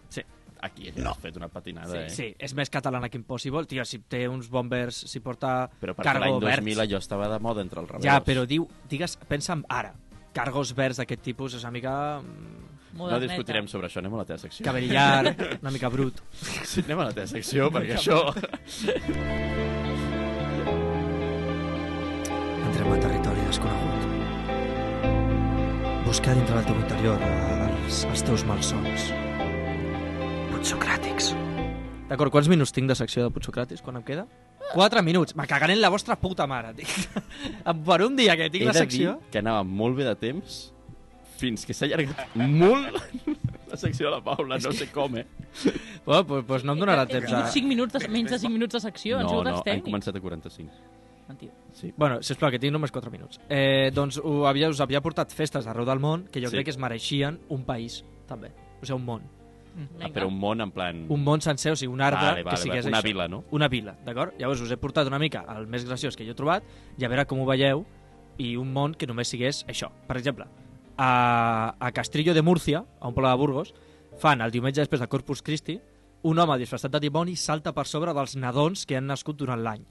Sí. Aquí no. has fet una patinada, Sí, eh? sí, és més catalana que Impossible. Tio, si té uns bombers, si porta Però perquè l'any cargo verd... 2000 allò estava de moda entre els rebels. Ja, però diu, digues, pensa en ara. Cargos verds d'aquest tipus és una mica... No discutirem sobre això, anem a la teva secció. Cabellar, una mica brut. Sí, anem a la teva secció, perquè això... Entrem a territori desconegut. Buscar dintre del teu interior eh, els, els teus malsons. Putsocràtics. D'acord, quants minuts tinc de secció de Putsocratis? Quan em queda? 4 minuts. Me cagaré en la vostra puta mare. tio. per un dia que tinc He la de secció... dir que anava molt bé de temps fins que s'ha allargat molt la secció de la Paula, no sé com, eh? Bueno, Oh, pues, pues no em donarà Hem tingut 5 minuts, de, menys de 5 minuts de secció, han No, sigut no, els han tècnics. començat a Ah, 45. Mentida. Sí. Bueno, sisplau, que tinc només 4 minuts. Eh, doncs ho havia, us havia portat festes d'arreu del món que jo Sí. sí. crec que es mereixien un país, també. O sigui, un món. Ah, però un món en plan... Un món sencer, o sigui, un arbre Vale, vale, que sigués vale. Una això. vila, no? Una vila, d'acord? Llavors us he portat una mica el més graciós que jo he trobat i a veure com ho veieu i un món que només sigués això. Per exemple, a, a Castrillo de Múrcia, a un poble de Burgos, fan el diumenge després de Corpus Christi un home disfressat de dimoni salta per sobre dels nadons que han nascut durant l'any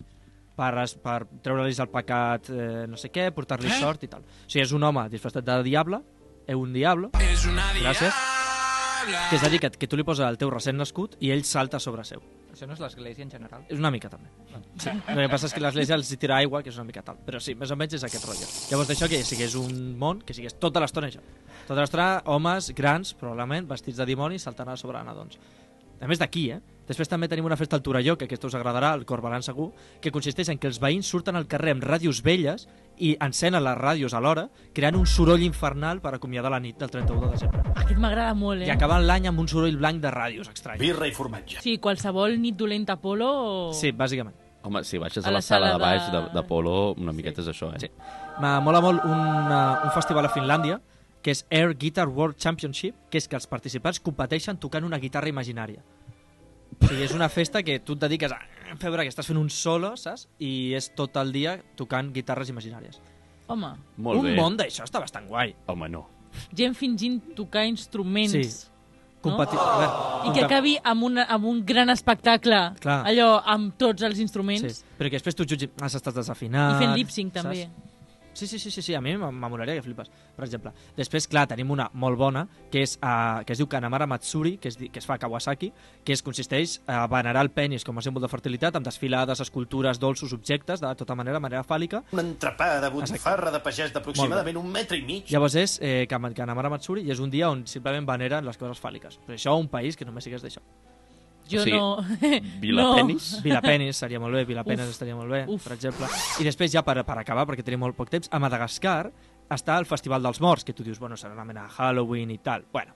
per, es- per treure-los el pecat eh, no sé què, portar-li eh? sort i tal. O sigui, és un home disfressat de diable, és un diable, gràcies, que és a dir, que, que tu li poses el teu recent nascut i ell salta sobre seu. Això no és l'església en Mm. general? És una mica, també. Sí. El que passa és que l'església els hi tira aigua, que és una mica tal. Però sí, més o menys és aquest rotllo. Llavors, d'això que sigués un món, que sigués tota l'estona això. Tota l'estona, homes grans, probablement, vestits de dimoni, saltant a sobre nadons. A més d'aquí, eh? Després també tenim una festa al Torelló, que aquesta us agradarà, el Corbalan segur, que consisteix en que els veïns surten al carrer amb ràdios velles i encenen les ràdios alhora, creant un soroll infernal per acomiadar la nit del 31 de desembre. Aquest m'agrada molt, eh? I acaben l'any amb un soroll blanc de ràdios estrany. Birra i formatge. Sí, qualsevol nit dolenta polo o... Sí, bàsicament. Home, si baixes A a la la, sala, sala de baix de- de, de polo, una miqueta és això, eh? Sí. Me mola molt un, eh, un festival a Finlàndia que és Air Guitar World Championship, que és que els participants competeixen tocant una guitarra imaginària. O sigui, és una festa que tu et dediques a fer veure que estàs fent un solo, saps? I és tot el dia tocant guitarres imaginàries. Home, Molt un bé. món d'això està bastant guai. Home, no. gent fingint tocar instruments. Sí. Competi- No? a veure, I que compe- acabi amb, una, amb un gran espectacle, Clar. allò, amb tots els instruments, Sí, però que després tu jutgis, has estat desafinat... i fent lip-sync, també. Ah, Saps? Sí, sí, sí, sí, sí. a mi m'am- m'amolaria que flipes, per exemple. Després, clar, tenim una molt bona, que, és, uh, que es diu Kanamara Matsuri, que es, di- que es fa a Kawasaki, que es consisteix a venerar el penis com a símbol de fertilitat, amb desfilades, escultures, dolços, objectes, de tota manera, manera fàl·lica. Una entrapada de botifarra de pagès d'aproximadament Molt un metre i mig. Llavors és eh, Kam- Kanamara Matsuri i és un dia on simplement veneren les coses fàl·liques. Però això, un país que només sigués d'això. Jo Sí. no... Vilapenis? No. Vilapenis seria molt bé, Vilapenis Uf, estaria molt bé, uf. uf. per exemple. I després, ja per, per acabar, perquè tenim molt poc temps, a Madagascar està el Festival dels Morts, que tu dius, bueno, serà una mena de Halloween i tal. Bueno,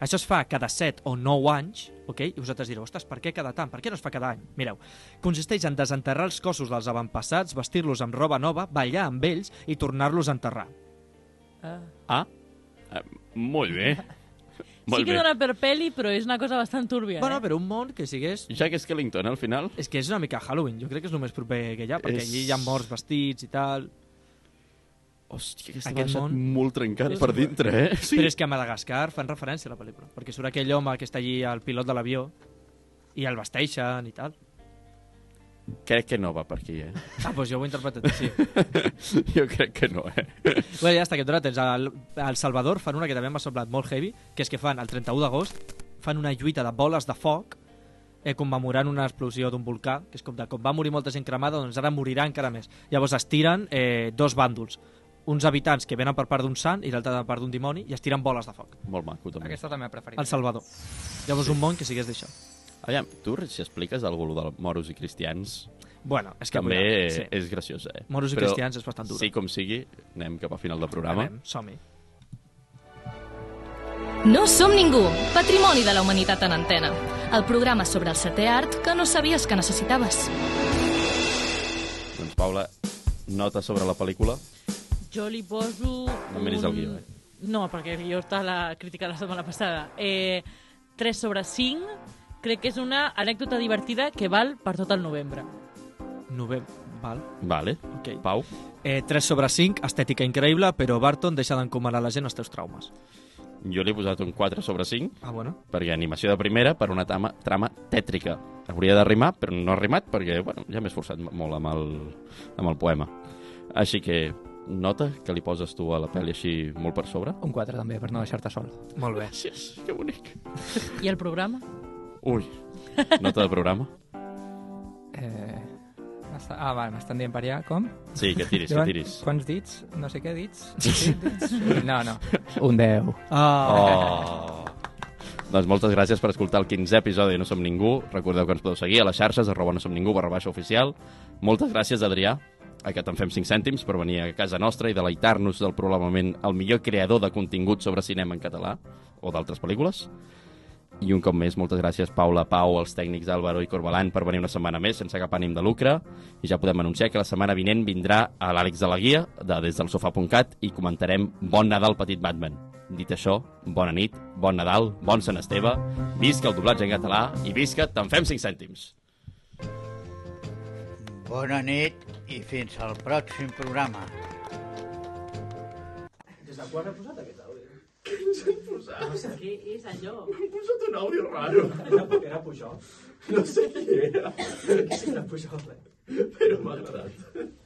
això es fa cada 7 o 9 anys, ok? i vosaltres direu, ostres, per què cada tant? Per què no es fa cada any? Mireu, consisteix en desenterrar els cossos dels avantpassats, vestir-los amb roba nova, ballar amb ells i tornar-los a enterrar. Eh. Ah. Ah, eh, molt bé. Sí Molt que bé. dona per peli, però és una cosa bastant túrbia, Bueno, eh? però un món que sigués... Jack Skellington, al final. És que és una mica Halloween, jo crec que és el més proper que hi ha, perquè És- allí hi ha morts vestits i tal. Hòstia, aquesta m'ha deixat molt trencat És per molt- dintre, eh? Sí. Però és que a Madagascar fan referència a la pel·lícula, perquè surt aquell home que està allí al pilot de l'avió i el vesteixen i tal. Crec que no va per aquí, eh? Ah, doncs jo ho he interpretat així. jo crec que no, eh? Bé, ja està, que et dona temps. Al, al Salvador fan una que també m'ha semblat molt heavy, que és que fan el 31 d'agost, fan una lluita de boles de foc eh, commemorant una explosió d'un volcà, que és com de com va morir molta gent cremada, doncs ara morirà encara més. Llavors es tiren eh, dos bàndols, uns habitants que venen per part d'un sant i l'altre per part d'un dimoni, i es tiren boles de foc. Molt maco, també. Aquesta també ha preferit. Al Salvador. Llavors un món que sigués d'això. Aviam, tu, si expliques alguna cosa de moros i cristians... Bueno, és que També cuidado, sí. és graciós, eh? Moros i cristians és bastant dura. Sí, com sigui, anem cap a final del programa. Anem, som-hi. No som ningú, patrimoni de la humanitat en antena. El programa sobre el setè art que no sabies que necessitaves. Doncs, Paula, nota sobre la pel·lícula. Jo li poso... No miris el guió, eh? No, perquè jo estava la crítica la setmana passada. Eh, 3 sobre 5, crec que és una anècdota divertida que val per tot el novembre. Novembre, val. Vale. Okay. Pau? Eh, 3 sobre 5, estètica increïble, però Barton deixa d'encomanar a la gent els teus traumes. Jo li he posat un 4 sobre 5. Ah, bueno. Perquè animació de primera per una trama, trama tètrica. Hauria de rimar, però no ha rimat, perquè bueno, ja m'he esforçat molt amb el, amb el poema. Així que nota que li poses tu a la pel·li així molt per sobre. Un 4 també, per no deixar-te sol. Molt bé. Gràcies, que bonic. I el programa? Ui, nota de programa. Eh... m'està- Ah, vale, m'estan dient per allà, com? Sí, que tiris, que Joan, tiris. Quants dits? No sé què dits? Sí, dits? No, no. Un 10. Oh. Doncs moltes gràcies per escoltar el 15è episodi de No Som Ningú. Recordeu que ens podeu seguir a les xarxes, arroba no som ningú, barra baixa oficial. Moltes gràcies, Adrià, a que te'n fem 5 cèntims per venir a casa nostra i deleitar-nos del probablement el millor creador de contingut sobre cinema en català o d'altres pel·lícules. I un cop més, moltes gràcies, Paula, Pau, els tècnics Álvaro i Corbalan per venir una setmana més sense cap ànim de lucre. I ja podem anunciar que la setmana vinent vindrà a l'Àlex de la Guia, de des del sofà.cat, i comentarem Bon Nadal, petit Batman. Dit això, bona nit, bon Nadal, bon Sant Esteve, visca el doblatge en català i visca Te'n fem 5 cèntims. Bona nit i fins al pròxim programa. Des de quan he posat aquest àudio? Què és allò? He posat un àudio raro. Era, era Pujol? No sé qui era. Sí, era Pujol, eh? Però m'ha agradat.